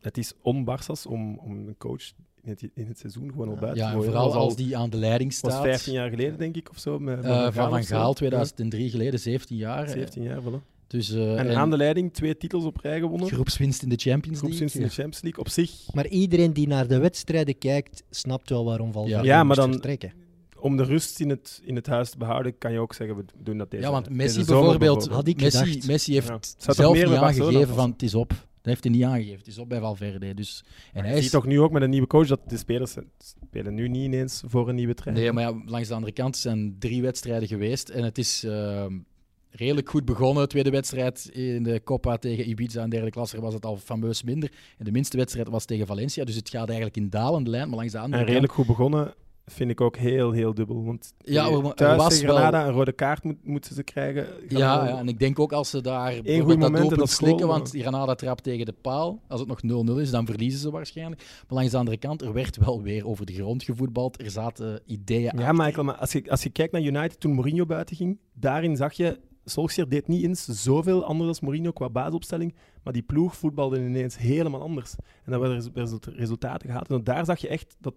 S2: Het is om Barça's om, om een coach in het, in het seizoen gewoon al
S3: Ja,
S2: buiten
S4: Ja,
S2: te
S4: en
S2: gooien.
S4: vooral
S2: Dat was al-
S4: als die aan de leiding
S2: Dat was
S4: staat.
S2: 15 jaar geleden, denk ik, of zo. Met met
S4: Eh, van Van
S2: of zo.
S4: Gaal,
S2: Ja.
S4: 2003 geleden, 17 jaar.
S2: 17 jaar, voilà.
S4: Dus, eh,
S2: en, aan de leiding twee titels op rij gewonnen.
S4: groepswinst in de Champions League.
S2: Groepswinst in de Champions League. Op zich,
S3: Maar iedereen die naar de wedstrijden kijkt, snapt wel waarom Valverde
S2: Ja, maar
S3: moest
S2: dan-
S3: vertrekken.
S2: om de rust in het, in het huis te behouden, kan je ook zeggen, we doen dat deze
S4: Ja, want
S2: deze
S4: Messi
S2: zomer
S4: bijvoorbeeld,
S3: Had ik
S4: Messi,
S3: gedacht.
S4: Messi heeft
S2: Ja. Het zou toch
S4: zelf
S2: meer
S4: niet
S2: bij Barcelona
S4: aangegeven van
S2: passen?
S4: het is op. Dat heeft hij niet aangegeven. Het is op bij Valverde. Dus, en
S2: Maar
S4: hij
S2: je
S4: is,
S2: ziet toch nu ook met een nieuwe coach dat de spelers spelen nu niet ineens voor een nieuwe trein.
S4: nee, maar ja, langs de andere kant zijn drie wedstrijden geweest. En het is ehm, redelijk goed begonnen. Tweede wedstrijd in de Copa tegen Ibiza. En derde klasse was het al fameus minder. En de minste wedstrijd was tegen Valencia. Dus het gaat eigenlijk in dalende lijn. Maar langs de andere
S2: En redelijk goed begonnen vind ik ook heel, heel dubbel. Want
S4: Ja, maar- maar er
S2: thuis
S4: was
S2: tegen Granada een rode kaart moet, moeten ze krijgen.
S4: kant... Ja, ja, en ik denk ook als ze daar bijvoorbeeld
S2: goed
S4: dat
S2: moment en
S4: doelpunt
S2: dat is eh, goal,
S4: slikken,
S2: maar-
S4: want Granada trapt tegen de paal. Als het nog 0-0 is, dan verliezen ze waarschijnlijk. Maar langs de andere kant, er werd wel weer over de grond gevoetbald. Er zaten eh, ideeën
S2: Ja, Michael, maar als je, als je kijkt naar United toen Mourinho buiten ging, daarin zag je, Solskjaer deed niet eens zoveel anders als Mourinho qua basisopstelling, maar die ploeg voetbalde ineens helemaal anders. En dan werden er resu- resultaten gehaald. En daar zag je echt dat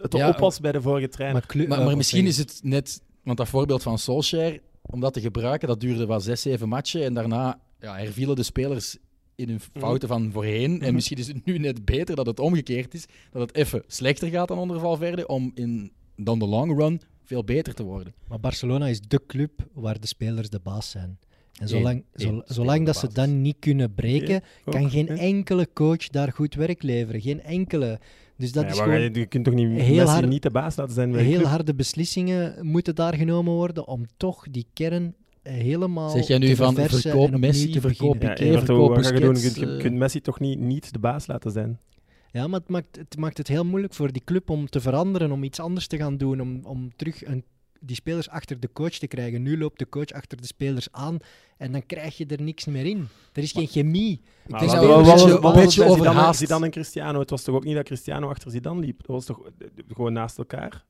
S2: het
S4: Ja,
S2: op
S3: eh,
S2: was bij de vorige trainer.
S3: Clu-
S4: Maar,
S3: eh,
S4: maar misschien is
S3: Valverde.
S4: het net, want dat voorbeeld van Solskjaer, om dat te gebruiken, dat duurde wel zes, zeven matchen. En daarna ja, hervielen de spelers in hun fouten van voorheen. En
S2: Mm. Mhm.
S4: misschien is het nu net beter dat het omgekeerd is. Dat het even slechter gaat dan onder Valverde, om in dan de long run veel beter te worden.
S3: Maar Barcelona is de club waar de spelers de baas zijn. En
S4: Eén-
S3: zolang,
S4: één
S3: zo-
S4: speler
S3: zolang dat
S4: de
S3: ze
S4: baas.
S3: dat niet kunnen breken,
S2: Ook,
S3: kan geen
S2: hè?
S3: enkele coach daar goed werk leveren. Geen enkele. Dus dat
S2: Ja,
S3: is
S2: maar
S3: gewoon...
S2: je, je kunt toch niet,
S3: heel
S2: Messi
S3: hard-
S2: niet de baas laten zijn bij de
S3: Heel
S2: club?
S3: harde beslissingen moeten daar genomen worden om toch die kern eh, helemaal
S4: Zeg jij nu
S3: te
S4: van
S3: verversen
S4: verkoop
S3: en opnieuw
S4: Messi,
S3: te
S4: verkoop
S3: beginnen.
S4: Piqué,
S2: Ja, Everton,
S4: verkoop
S2: wat ga je doen? Je
S4: Busquets,
S2: kunt, je
S4: eh.
S2: kunt Messi toch niet, niet de baas laten zijn?
S3: Ja, maar het maakt, het maakt het heel moeilijk voor die club om te veranderen, om iets anders te gaan doen, om, om terug een, die spelers achter de coach te krijgen. Nu loopt de coach achter de spelers aan en dan krijg je er niks meer in. Er is geen chemie.
S2: Maar
S4: denk
S2: wat-
S4: dat
S2: wat-
S4: we
S2: wat-
S4: een beetje-
S2: wat- wat was
S4: een
S2: het
S4: beetje
S2: bij Zidane-
S4: overhaast.
S2: Zidane en Cristiano. Het was toch ook niet dat Cristiano achter Zidane liep? Dat was toch eh, eh, gewoon naast elkaar?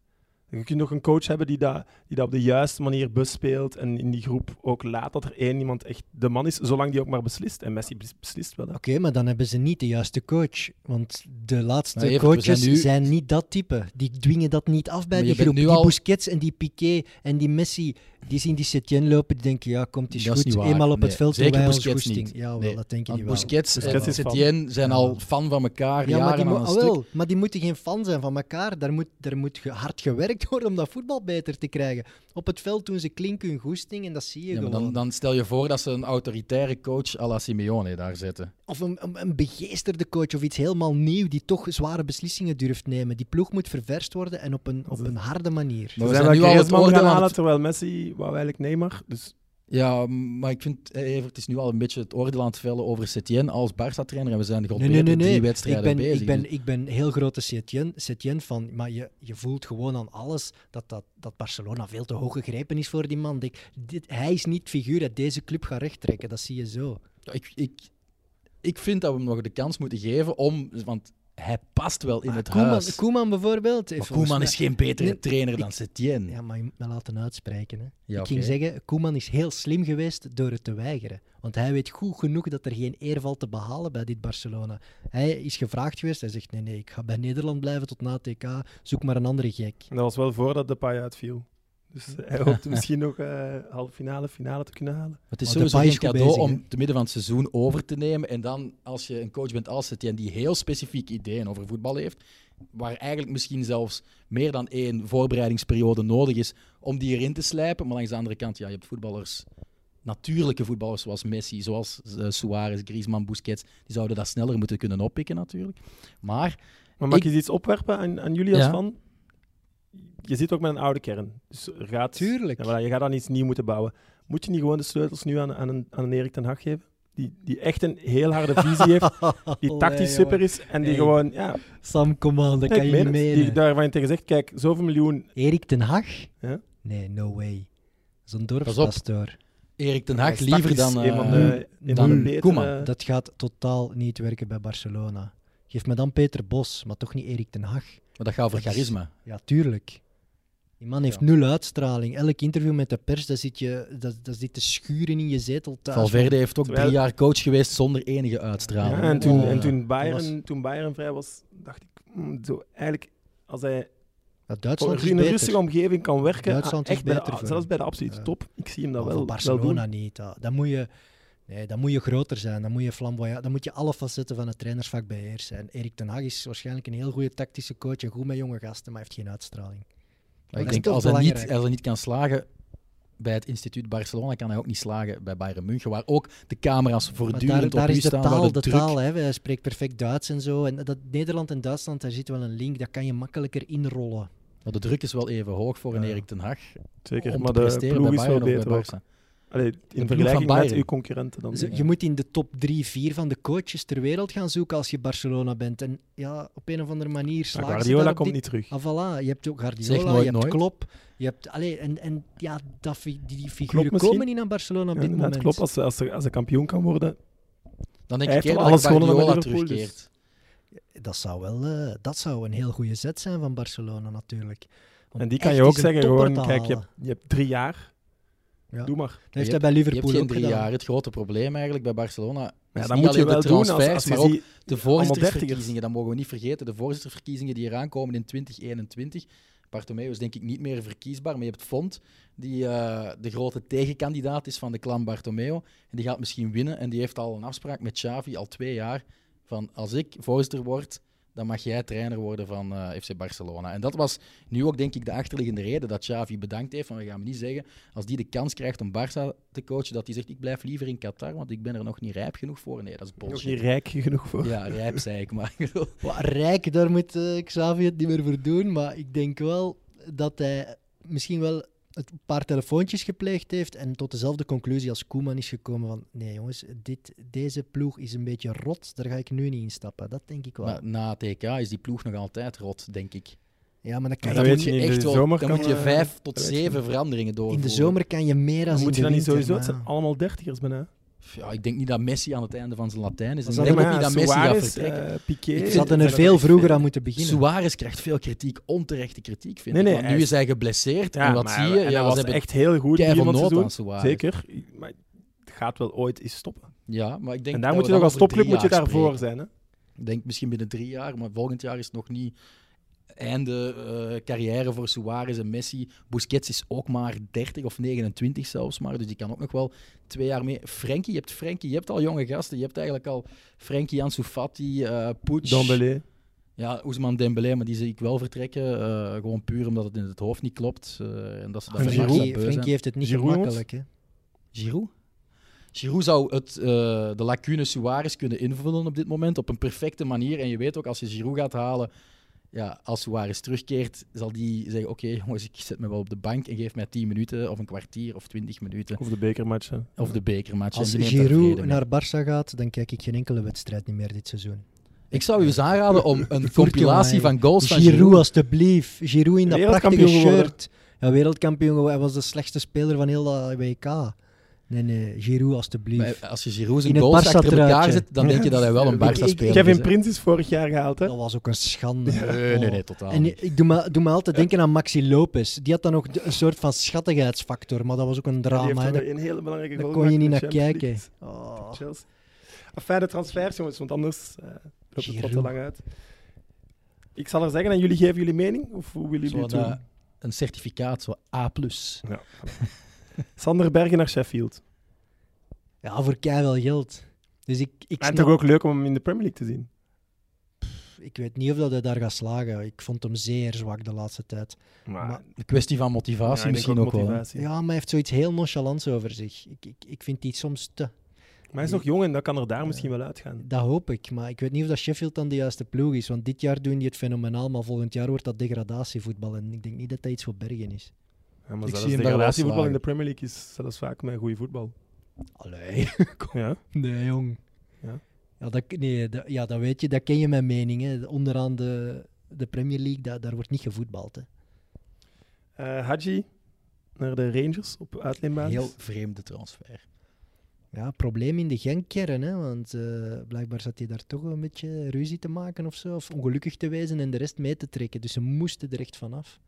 S2: Je kunt nog een coach hebben die dat, die dat op de juiste manier bespeelt en in die groep ook laat dat er één iemand echt de man is, zolang die ook maar beslist. En Messi bes- beslist wel. hè.
S3: Oké, maar dan hebben ze niet de juiste coach. Want de laatste
S4: Maar Evert, we
S3: coaches zijn,
S4: zijn nu-
S3: niet dat type. Die dwingen dat niet af bij
S4: Maar
S3: die
S4: je bent
S3: groep.
S4: nu
S3: Die
S4: al-
S3: Busquets en die Piqué en die Messi, die zien die Setien lopen, die denken, ja, komt die
S4: Dat is
S3: goed.
S4: niet waar.
S3: Eenmaal op
S4: Nee,
S3: het veld doen
S4: zeker
S3: wij ons
S4: Busquets
S3: goesting.
S4: niet.
S3: Ja, wel,
S4: Nee,
S3: dat denk ik
S4: Want
S3: niet wel.
S4: Busquets
S2: Busquets
S4: en
S2: is fan.
S4: Setien zijn
S3: Ja.
S4: al fan van elkaar,
S3: Ja, maar die,
S4: jaren
S3: mo-
S4: aan een
S3: ah,
S4: stuk.
S3: wel, maar die moeten geen fan zijn van elkaar. Daar moet, daar moet ge- hard gewerkt worden om dat voetbal beter te krijgen. Op het veld doen ze klinken hun goesting en dat zie je
S4: Ja, maar
S3: gewoon.
S4: dan, dan stel je voor dat ze een autoritaire coach à la Simeone daar zetten.
S3: Of een, een, een begeesterde coach of iets helemaal nieuw die toch zware beslissingen durft nemen. Die ploeg moet ververst worden en op een, op een harde manier.
S4: Maar
S2: Ze
S4: we
S2: zijn
S4: zijn nu
S2: wel
S4: al het
S2: Griezmann gaan
S4: oordeel aan
S2: halen,
S4: het...
S2: terwijl Messi wou eigenlijk Neymar. Dus
S4: Ja, maar ik vind, eh, Evert, het is nu al een beetje het oordeel aan het vellen over Setien als Barca-trainer. En we zijn de
S3: Nee, nee, nee.
S4: drie
S3: nee. Ik,
S4: wedstrijden
S3: ben,
S4: bezig. dus-
S3: ik, ben, ik ben heel grote Setien, Setien van, maar je, je voelt gewoon aan alles dat, dat, dat Barcelona veel te hoog gegrepen is voor die man. Ik- dit, hij is niet het figuur dat deze club gaat rechttrekken, dat zie je zo.
S4: Ja, Dus ik, ik, ik vind dat we hem nog de kans moeten geven om... Want hij past wel in
S3: Maar
S4: het
S3: Koeman,
S4: huis.
S3: Koeman bijvoorbeeld. heeft
S4: maar
S3: volgens
S4: Koeman
S3: mij-
S4: is geen betere
S3: Nee,
S4: trainer
S3: ik-
S4: dan Setien.
S3: Ja, maar je moet me laten uitspreken. Hè.
S4: Ja,
S3: ik ging
S4: oké.
S3: zeggen, Koeman is heel slim geweest door het te weigeren. Want hij weet goed genoeg dat er geen eer valt te behalen bij dit Barcelona. Hij is gevraagd geweest, hij zegt nee, nee, ik ga bij Nederland blijven tot na TK, zoek maar een andere gek.
S2: dat was wel voordat de paai uitviel. Dus eh, hij hoopte misschien nog eh halve finale, finale te kunnen halen.
S4: Het is
S3: Maar
S4: sowieso
S3: Depay
S4: geen
S3: is goed
S4: cadeau
S3: bezig,
S4: om
S3: hè?
S4: te midden van het seizoen over te nemen. En dan, als je een coach bent als Setien, die heel specifieke ideeën over voetbal heeft, waar eigenlijk misschien zelfs meer dan één voorbereidingsperiode nodig is om die erin te slijpen. Maar langs de andere kant, ja, je hebt voetballers, natuurlijke voetballers zoals Messi, zoals eh, Suarez, Griezmann, Busquets, die zouden dat sneller moeten kunnen oppikken natuurlijk. Maar
S2: Maar mag
S4: Ik-
S2: je eens iets opwerpen aan, aan jullie als
S4: Ja.
S2: fan? Je zit ook met een oude kern. Dus er gaat,
S3: Tuurlijk.
S2: Ja, voilà, je gaat dan iets nieuw moeten bouwen. Moet je niet gewoon de sleutels nu aan, aan, een, aan een Erik ten Hag geven? Die, die echt een heel harde visie heeft, die tactisch super is en die
S3: Hey.
S2: gewoon... Ja,
S3: Sam, come on,
S2: nee,
S3: dat kan
S2: ik
S3: je niet
S2: meen het. Die
S3: menen.
S2: daarvan je tegen zegt, kijk, zoveel miljoen...
S3: Erik ten Hag?
S2: Ja?
S3: Nee, no way. Zo'n dorpspastoor.
S4: Erik ten Hag
S2: eh,
S4: liever
S2: tactisch
S4: dan... eh,
S2: een van de, een
S4: dan
S2: van de betere...
S4: Koeman.
S3: Dat gaat totaal niet werken bij Barcelona. Geef me dan Peter Bos, maar toch niet Erik ten Hag.
S4: Maar dat gaat over
S3: Dat is-
S4: charisma.
S3: Ja, tuurlijk. Die man heeft nul uitstraling. Elk interview met de pers, daar zit, je, dat, dat zit te schuren in je zetel thuis.
S4: Valverde heeft ook
S2: Terwijl-
S4: drie jaar coach geweest zonder enige
S2: Ja,
S4: uitstraling.
S2: en toen,
S3: Oh,
S2: en
S3: ja.
S2: toen,
S3: Dat
S2: Bayern, toen Bayern vrij was, dacht ik... mm, zo, eigenlijk, als hij
S3: Ja,
S2: voor
S4: dus
S3: Duitsland is
S2: in een
S3: beter.
S2: rustige omgeving kan werken,
S3: Duitsland
S2: ah,
S3: is
S2: echt bij de-
S3: beter voor
S2: zelfs bij de absolute
S3: Ja.
S2: top, ik zie hem
S3: Maar
S2: dat
S3: voor
S2: wel, wel doen.
S3: Barcelona niet. Dat, dat moet je, nee, dat moet je groter zijn. Dan moet je flamboyant. Dan moet je alle facetten van het trainersvak beheersen. zijn. Erik ten Hag is waarschijnlijk een heel goede tactische coach. en Goed met jonge gasten, maar heeft geen uitstraling.
S4: Maar
S3: Maar
S4: ik
S3: dat
S4: denk,
S3: is
S4: als
S3: toch
S4: hij, niet,
S3: belangrijk.
S4: als hij niet kan slagen bij het instituut Barcelona, kan hij ook niet slagen bij Bayern München, waar ook de camera's
S3: Maar
S4: voortdurend
S3: daar,
S4: op
S3: daar
S4: u
S3: is de
S4: staan, waar
S3: taal,
S4: de
S3: de
S4: druk-
S3: taal. Hè. Hij spreekt perfect Duits en zo. En dat, Nederland en Duitsland, daar zit wel een link. Dat kan je makkelijker inrollen.
S4: Maar de druk is wel even hoog voor een
S2: Ja.
S4: Erik ten Hag
S2: Zeker,
S4: om
S2: maar
S4: te
S2: de
S4: presteren
S2: ploeg
S4: bij
S2: is wel
S4: Bayern of
S2: beter.
S4: bij
S2: ook.
S4: Barca.
S2: Allee,
S4: van
S2: in vergelijking met
S4: Bayern.
S2: uw concurrenten dan.
S3: Ze-
S2: denk ik.
S3: Je moet in de top 3, 4 van de coaches ter wereld gaan zoeken als je Barcelona bent. En ja, op een of andere manier
S2: Maar
S3: slaagt ze
S2: Guardiola
S3: daar op
S2: komt
S3: die-
S2: niet terug.
S3: Ah, voilà. Je hebt ook
S4: Zeg
S3: Guardiola,
S4: nooit
S3: je hebt
S4: nooit.
S3: Klop. Je hebt, allee, en, en ja, dat, fi- die, die figuren
S2: Klopp misschien?
S3: komen niet naar Barcelona op
S2: Ja,
S3: dit
S2: inderdaad,
S3: moment.
S2: klopt. Als ze, als, ze, als ze kampioen kan worden.
S4: Dan denk
S2: Hij heeft
S4: ik
S2: al
S4: eerder dat
S2: alles gewonnen met
S4: Guardiola
S2: Liverpool, dus-
S4: terugkeert.
S3: Dat zou wel eh, dat zou een heel goede zet zijn van Barcelona natuurlijk. Om
S2: En die kan
S3: echt
S2: je ook
S3: eens een
S2: zeggen:
S3: topper
S2: gewoon,
S3: te
S2: kijk, je hebt,
S3: halen.
S2: je hebt drie jaar.
S3: Ja.
S2: Doe maar.
S3: Dat heeft
S4: je
S3: hij bij
S4: Je hebt
S3: Liverpool
S4: geen
S3: ook
S4: drie
S3: gedaan.
S4: jaar. Het grote probleem eigenlijk bij Barcelona
S2: Maar
S4: is
S2: ja, dat
S4: niet
S2: moet je
S4: alleen
S2: wel
S4: de
S2: doen. Als,
S4: transfers,
S2: als je
S4: maar ook
S2: die-
S4: de
S2: allemaal dertigers.
S4: voorzittersverkiezingen. Dat mogen we niet vergeten. De voorzittersverkiezingen die eraan komen in 2021. Bartomeu is denk ik niet meer verkiesbaar, maar je hebt Font, die eh, de grote tegenkandidaat is van de clan Bartomeu. En die gaat misschien winnen en die heeft al een afspraak met Xavi al twee jaar van als ik voorzitter word, dan mag jij trainer worden van eh, FC Barcelona. En dat was nu ook denk ik de achterliggende reden dat Xavi bedankt heeft. Van we gaan hem niet zeggen, als die de kans krijgt om Barça te coachen, dat hij zegt ik blijf liever in Qatar, want ik ben er nog niet rijp genoeg voor. Nee, dat is
S2: Nog
S4: bullshit.
S2: niet rijk genoeg voor.
S4: Ja, rijp zei ik, maar ik bedoel,
S3: Wat Rijk, daar moet eh, Xavi het niet meer voor doen. Maar ik denk wel dat hij misschien wel het een paar telefoontjes gepleegd heeft en tot dezelfde conclusie als Koeman is gekomen van nee jongens, dit, deze ploeg is een beetje rot, daar ga ik nu niet instappen. Dat denk ik wel.
S4: Maar na het EK is die ploeg nog altijd rot, denk ik.
S3: ja, maar dan
S2: Ja,
S3: kan
S2: dat
S3: je
S4: dan
S2: weet
S4: moet
S2: je
S4: je
S2: niet. In
S4: echt
S2: de
S4: wel,
S2: zomer
S4: dan
S2: kan,
S4: moet je
S2: eh,
S4: vijf tot
S2: dat weet je
S4: zeven veranderingen door.
S3: in de zomer kan je meer dan
S2: Moet je dan
S3: in de
S2: niet
S3: winter,
S2: sowieso... Het
S3: maar-
S2: zijn allemaal dertigers bijna.
S4: Ja, ik denk niet dat Messi aan het einde van zijn Latijn is.
S3: Maar
S4: Ik
S3: ze
S4: denk ook
S3: hadden
S4: niet dat Messi gaat
S2: Suarez,
S4: vertrekken.
S2: eh, Piqué...
S3: Ik
S4: Ik
S3: zat
S4: vind-
S3: er veel vroeger aan moeten beginnen.
S4: Suarez krijgt veel kritiek, onterechte kritiek, vind
S2: Nee,
S4: ik.
S2: nee,
S4: Want
S2: hij
S4: nu
S2: is-
S4: is hij geblesseerd.
S2: Ja,
S4: en wat
S2: maar-
S4: zie je?
S2: En
S4: Ja,
S2: hij
S4: ze
S2: was
S4: hebben
S2: echt heel goed in
S4: kei
S2: van
S4: van
S2: het
S4: nood
S2: seizoen.
S4: aan Suarez.
S2: Zeker. Maar het gaat wel ooit eens stoppen.
S4: Ja, maar ik denk
S2: en daar
S4: dat
S2: moet
S4: we
S2: je toch
S4: dan
S2: als
S4: over
S2: topclub
S4: drie
S2: moet je
S4: jaar
S2: daarvoor
S4: spreken.
S2: zijn. Hè?
S4: Ik denk misschien binnen drie jaar, maar volgend jaar is het nog niet einde eh, carrière voor Suarez en Messi. Busquets is ook maar 30 of 29 zelfs maar, dus die kan ook nog wel twee jaar mee. Frenkie, je hebt Frenkie, je hebt al jonge gasten. Je hebt eigenlijk al Frenkie, Ansu Fati, eh Puig.
S2: Dembélé.
S4: Ja, Ousmane Dembélé, maar die zie ik wel vertrekken. eh, gewoon puur omdat het in het hoofd niet klopt. eh, en dat ze daar
S2: En
S4: vandaag
S2: Giroud?
S4: zijn
S3: Frenkie,
S4: beu
S3: Frenkie
S4: zijn.
S3: heeft het niet
S2: Giroud,
S3: gemakkelijk. Hè.
S4: Giroud? Giroud zou het, eh, de lacune Suarez kunnen invullen op dit moment op een perfecte manier. En je weet ook, als je Giroud gaat halen, ja, als Suarez terugkeert, zal die zeggen, oké jongens, ik zet me wel op de bank en geef mij 10 minuten of een kwartier of 20 minuten.
S2: Of de bekermatchen.
S4: Of de bekermatch.
S3: Als
S4: En die neemt daar vrede
S3: Giroud
S4: mee.
S3: naar Barça gaat, dan kijk ik geen enkele wedstrijd niet meer dit seizoen.
S4: Ik zou u eens aanraden om een
S3: Voert
S4: compilatie
S3: jongen,
S4: van goals van
S3: Giroud,
S4: Giroud...
S3: alstublieft. Giroud in dat prachtige
S2: Wereldkampioen geworden.
S3: shirt. Ja, wereldkampioen. geworden. Hij was de slechtste speler van heel dat WK. Nee, nee, Giroud
S4: Maar
S3: alstublieft.
S4: Als je Giroud zijn
S3: In het
S4: goals
S3: Barça
S4: achter elkaar
S3: truitje.
S4: zet, dan denk je dat hij
S3: dus
S4: wel een
S2: Ik-
S4: Barca
S2: ik-
S4: speler is.
S2: Kevin
S4: dus, hè.
S2: Prins is vorig jaar gehaald. Hè?
S3: Dat was ook een schande.
S4: eh, Nee, nee, nee, totaal
S3: En
S4: niet. Eh.
S3: ik doe me, doe me altijd denken aan Maxi Lopez. Die had dan nog de- een soort van schattigheidsfactor, maar dat was ook een
S2: Die heeft
S3: drama. hè.
S2: toen
S3: Daar,
S2: een hele belangrijke
S3: daar
S2: goal
S3: kon je niet naar
S2: gemaakt in de
S3: kijken.
S2: Champions League
S3: Oh.
S2: tegen Chelsea. Enfin, de transfers, jongens, want anders eh, loopt het wat te
S3: Giroud.
S2: lang uit. Ik zal er zeggen en jullie geven jullie mening? Of hoe willen jullie
S4: Zo'n,
S2: het doen?
S4: eh, een certificaat, zo A+.
S2: Ja. Sander Bergen naar Sheffield.
S3: Ja, voor kei wel geld. Dus ik, ik,
S2: En
S3: snap,
S2: toch ook leuk om hem in de Premier League te zien.
S3: ik weet niet of dat hij daar gaat slagen. Ik vond hem zeer zwak de laatste tijd. Maar-
S4: Een kwestie van motivatie misschien ook, wel. hè.
S2: Ja.
S3: Ja, maar hij heeft zoiets heel nonchalants over zich. Ik, ik, ik vind die soms te.
S2: Maar hij is nog jong en dat kan er daar misschien wel uitgaan.
S3: Dat hoop ik, maar ik weet niet of dat Sheffield dan de juiste ploeg is. Want dit jaar doen die het fenomenaal, maar volgend jaar wordt dat degradatievoetbal. En ik denk niet dat dat iets voor Bergen is.
S2: Ja, maar
S4: Ik
S2: zelfs
S4: zie hem daar wel
S2: degradatievoetbal in
S4: slagen.
S2: de Premier League is zelfs vaak met goede voetbal.
S3: Allee.
S2: Ja.
S3: Nee, jong.
S2: Ja.
S3: Ja, dat, nee, dat, ja, dat weet je, dat ken je mijn mening. Hè. Onderaan de, de Premier League, daar, daar wordt niet gevoetbald. Hè.
S2: Eh, Hadji naar de Rangers op uitleenbasis.
S4: Heel vreemde transfer.
S3: Ja, probleem in de genkern, hè, want eh, blijkbaar zat hij daar toch een beetje ruzie te maken of zo, of ongelukkig te wezen en de rest mee te trekken. Dus ze moesten er echt vanaf.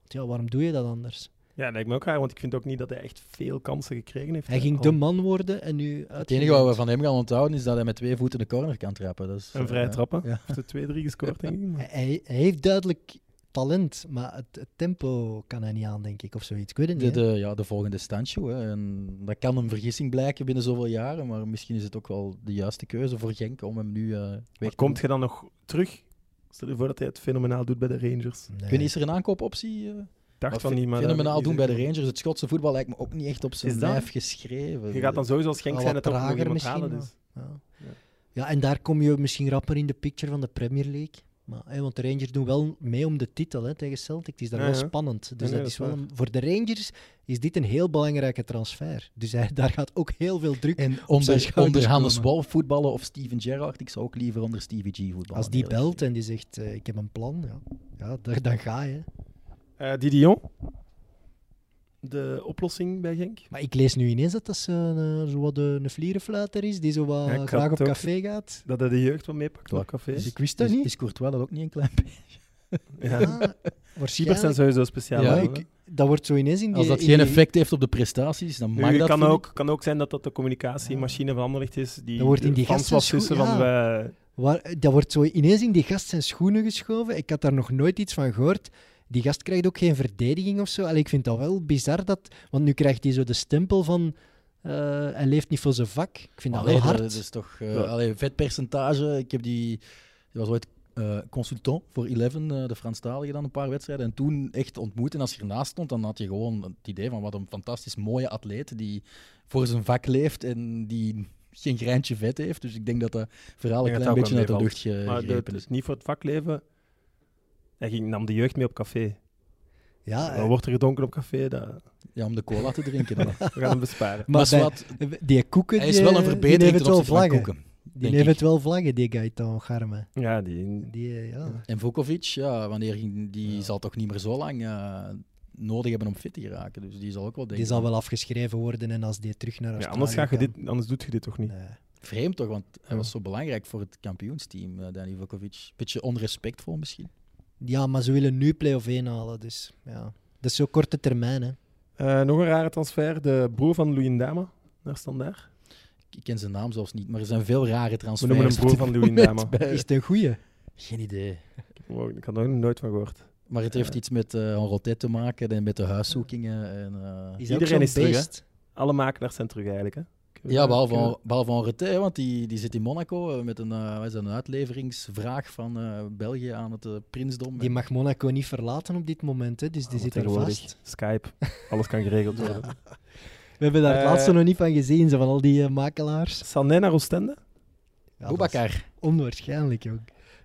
S3: Want ja, waarom doe je dat anders?
S2: Ja, lijkt me ook raar, want ik vind ook niet dat hij echt veel kansen gekregen heeft.
S3: Hij
S2: hè,
S3: ging
S2: al.
S3: de man worden en nu...
S4: Het enige wat we van hem gaan onthouden is dat hij met twee voeten de corner kan trappen. Dat is,
S2: En vrije
S4: eh,
S2: trappen.
S4: ja.
S2: Heeft de 2-3 gescoord, denk ik. maar-
S3: Hij, hij- hij heeft duidelijk talent, maar het, het tempo kan hij niet aan, denk ik, of zoiets. Ik weet het
S4: De,
S3: niet.
S4: de,
S3: hè.
S4: ja, de volgende standshow. hè. En dat kan een vergissing blijken binnen zoveel jaren, maar misschien is het ook wel de juiste keuze voor Genk om hem nu eh, weg
S2: Maar
S4: te doen.
S2: komt je dan nog terug? Stel je voor dat hij het fenomenaal doet bij de Rangers.
S3: Nee.
S4: Ik weet niet, is er een aankoopoptie? eh?
S2: Ik Dacht van
S4: Maar fe-
S2: niet, maar... dat-
S4: Fenomenaal
S2: die-
S4: doen bij de Rangers. Het Schotse voetbal lijkt me ook niet echt op
S2: Is
S4: zijn
S2: dat-
S4: lijf geschreven.
S2: Je gaat dan sowieso als Genk
S3: Al
S2: zijn
S3: wat
S2: dat er ook nog
S3: trager
S2: iemand
S3: misschien
S2: halen
S3: wel.
S2: is.
S3: Ja.
S2: Ja.
S3: Ja. en daar kom je misschien rapper in de picture van de Premier League. Maar, hè, want de Rangers doen wel mee om de titel hè, tegen Celtic. Het is daar
S2: Ja,
S3: wel
S2: ja.
S3: spannend.
S2: nee,
S3: Dus dat
S2: dat
S3: is
S2: is
S3: wel een- voor de Rangers is dit een heel belangrijke transfer. Dus hij, daar gaat ook heel veel druk.
S4: En
S3: zijn
S4: onder,
S3: schouders
S4: onder Hannes
S3: komen.
S4: Wolf voetballen of Steven Gerrard, ik zou ook liever onder Stevie G voetballen.
S3: Als die
S4: eerlijk
S3: belt en die zegt: eh, Ik heb een plan, ja, ja daar, dan ga je.
S2: Eh, Didion? De oplossing bij Genk?
S3: Maar ik lees nu ineens dat dat zo'n, eh, zo wat een vlierenfluiter is die zo wat
S2: Ja, ik had
S3: graag op
S2: het ook.
S3: café gaat.
S2: Dat hij de jeugd wel meepakt
S4: Klopt.
S2: naar café.
S3: Dus ik wist dat
S4: gezegd.
S3: niet.
S4: Is, is Courtois dat ook niet een klein beetje?
S2: Ja.
S3: Ja,
S2: Keepers zijn
S3: Ah, waarschijnlijk.
S2: sowieso speciaal.
S4: Ja,
S2: hè.
S3: ik- Dat wordt zo ineens in die
S4: Als dat
S3: in
S4: geen
S3: die-
S4: effect heeft op de prestaties, dan mag
S2: Nu,
S4: dat
S2: kan,
S4: vind ik.
S2: ook, kan ook zijn dat dat de communicatiemachine van Anderlecht is. Die
S3: Dat wordt in die
S2: Frans was
S3: gasten
S2: tussen
S3: schoen-
S2: van... wij-
S3: Waar, dat wordt zo ineens in die gast zijn schoenen geschoven. Ik had daar nog nooit iets van gehoord. Die gast krijgt ook geen verdediging of zo. Allee, ik vind dat wel bizar. Dat, want nu krijgt hij zo de stempel van. eh, hij leeft niet voor zijn vak. Ik vind dat
S4: Allee,
S3: wel hard.
S4: Dat is toch eh
S2: Ja.
S4: allee, vet percentage. Ik heb die, die was ooit eh, consultant voor Eleven, eh, de Franstalige dan een paar wedstrijden. En toen echt ontmoet. En als je ernaast stond, dan had je gewoon het idee van wat een fantastisch mooie atleet die voor zijn vak leeft en die geen greintje vet heeft. Dus ik denk dat dat verhaal een
S2: Ik denk dat
S4: klein
S2: dat
S4: beetje uit
S2: ook
S4: de
S2: wel
S4: lucht ge-
S2: Maar
S4: eh, gegrepen
S2: dat
S4: is.
S2: is niet voor het vakleven. Hij ging, nam de jeugd mee op café.
S3: Ja,
S2: Dan
S3: eh,
S2: wordt er gedronken op café. Dat...
S4: Ja, om de cola te drinken. dan.
S2: We gaan hem besparen.
S4: maar
S3: maar bij-
S4: zwart,
S3: eh, die koeken...
S4: hij is
S3: die,
S4: wel een
S3: eh,
S4: verbetering
S3: die
S4: ten
S3: heeft wel
S4: opzichte van
S3: vlaggen.
S4: Koeken.
S3: Die
S4: denk
S3: heeft
S4: ik.
S3: het wel vlaggen, die Gaetan Garme.
S2: Ja, die...
S3: Die, eh, ja.
S4: En Vukovic, ja, wanneer ging, die zal toch niet meer zo lang eh, nodig hebben om fit te raken. Dus die zal ook wel denken.
S3: die zal wel afgeschreven worden en als die terug naar
S2: Ja,
S3: Australië eh,
S2: anders, ga je
S3: kan-
S2: dit, anders doet je dit toch niet?
S3: Nee.
S4: Vreemd toch, want hij
S2: Ja.
S4: was zo belangrijk voor het kampioensteam, eh, Danny Vukovic. Beetje onrespectvol misschien.
S3: Ja, maar ze willen nu play-off 1 halen, dus ja. Dat is zo korte termijn, hè.
S2: Eh, nog een rare transfer. De broer van Luyendama naar Standaard.
S4: Ik ken zijn naam zelfs niet, maar er zijn veel rare
S2: We
S4: transfers.
S2: noemen hem
S4: op
S2: broer
S4: dit
S2: van Luyendama.
S4: moment bij-
S3: Is het een goeie?
S4: Geen idee.
S2: Wow, Ik had er nog nooit van gehoord.
S4: Maar het heeft iets met eh Henroté te maken en met de huiszoekingen. En, eh,
S3: Is
S2: Iedereen
S3: ook zo'n
S2: is terug, hè?
S3: beest?
S2: Alle maaknaars zijn terug eigenlijk. Hè? Kunnen
S4: Ja,
S2: we-
S4: behalve,
S2: kunnen we-
S4: Hen- behalve Henriette, hè, want die, die zit in Monaco eh, met een, eh, wat is dat, een uitleveringsvraag van eh, België aan het eh, prinsdom.
S3: Die mag Monaco niet verlaten op dit moment, hè, dus die
S4: Ah,
S2: Allemaal
S3: zit er
S2: tegenwoordig.
S3: vast.
S2: Skype, alles kan geregeld worden.
S3: We hebben daar het
S2: Eh,
S3: laatste nog niet van gezien, zo, van al die eh, makelaars.
S2: Sané naar Oostende?
S3: Ja, dat is
S4: Boubacar.
S3: Onwaarschijnlijk, ook.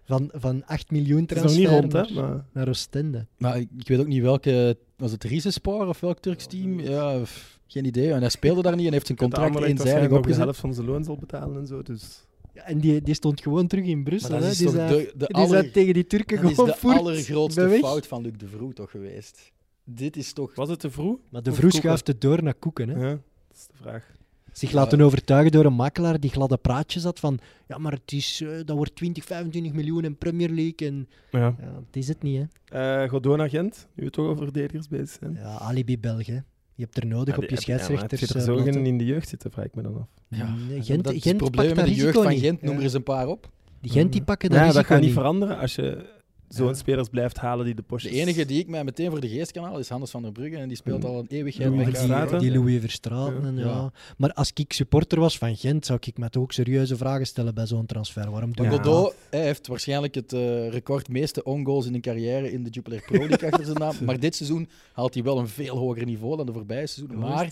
S3: Van, van 8 miljoen
S2: Het is nog niet
S3: transfer
S2: rond,
S3: naar,
S2: hè? Maar...
S3: naar Oostende.
S4: Maar ik, ik weet ook niet welke... Was het Rizespor of welk Turks team? Ja, pff, geen idee. En hij speelde daar niet en heeft zijn
S2: De
S4: contract
S2: Anderlecht
S4: eenzijdig
S2: waarschijnlijk ook de
S4: opgezet.
S2: helft van zijn loon zal betalen en zo. Dus...
S3: Ja, en die, die stond gewoon terug in Brussel.
S4: Maar dat
S3: hè.
S4: is
S3: die
S4: toch
S3: zei,
S4: de- de
S3: die
S4: aller-
S3: zei tegen die Turken
S4: Dat is
S3: gewoon
S4: de
S3: voert,
S4: allergrootste
S3: ben weg.
S4: fout van Luc de Vroe toch geweest. Dit is toch...
S2: Was het te vroeg?
S3: Maar de
S2: Of
S3: vroeg
S2: Koeken.
S3: schuift het door naar Koeken. Hè?
S2: Ja, dat is de vraag.
S3: Zich laten overtuigen door een makelaar die gladde praatjes had van ja, maar het is, eh, dat wordt 20, 25 miljoen in Premier League. En,
S2: Ja.
S3: ja, het is het niet, hè.
S2: Eh Godona Gent, nu we toch over verdedigers bezig zijn.
S3: Ja, alibi Belgen. Je hebt er nodig
S2: Ja,
S3: op
S2: die-
S3: je
S2: ja, maar
S3: scheidsrechters.
S2: Heb
S4: dus,
S2: je
S3: eh,
S2: er zo
S3: platten.
S2: geen in de jeugd zitten, vraag ik me dan af.
S4: Ja,
S3: Nee,
S4: dat-
S3: Gent,
S4: dat is
S3: Gent
S4: het
S3: pakt
S4: probleem met
S3: dat
S4: de jeugd
S3: risico
S4: van
S3: niet.
S4: Gent. Noem er
S3: Ja.
S4: eens een paar op.
S3: Die Gent die pakken dat
S2: ja,
S3: risico
S2: dat gaat niet
S3: niet.
S2: veranderen als je zo'n
S3: Ja.
S2: spelers blijft halen die de
S4: De
S2: postjes...
S4: enige die ik mij meteen voor de geest kan halen is Hannes van der Brugge. En die
S3: Mm.
S4: speelt al een eeuwigheid
S2: Louis
S4: bij
S2: van
S4: elkaar.
S2: Straten.
S3: Die, die Louis Verstraeten,
S2: Ja.
S3: en ja.
S4: Ja.
S3: Maar als ik supporter was van Gent, zou ik me toch ook serieuze vragen stellen bij zo'n transfer. Waarom doe
S4: Maar
S3: je
S2: Ja.
S4: Godot hij heeft waarschijnlijk het eh, record meeste ongoals in een carrière in de Jupiler Pro League achter zijn naam. Maar dit seizoen haalt hij wel een veel hoger niveau dan de voorbije seizoen. Maar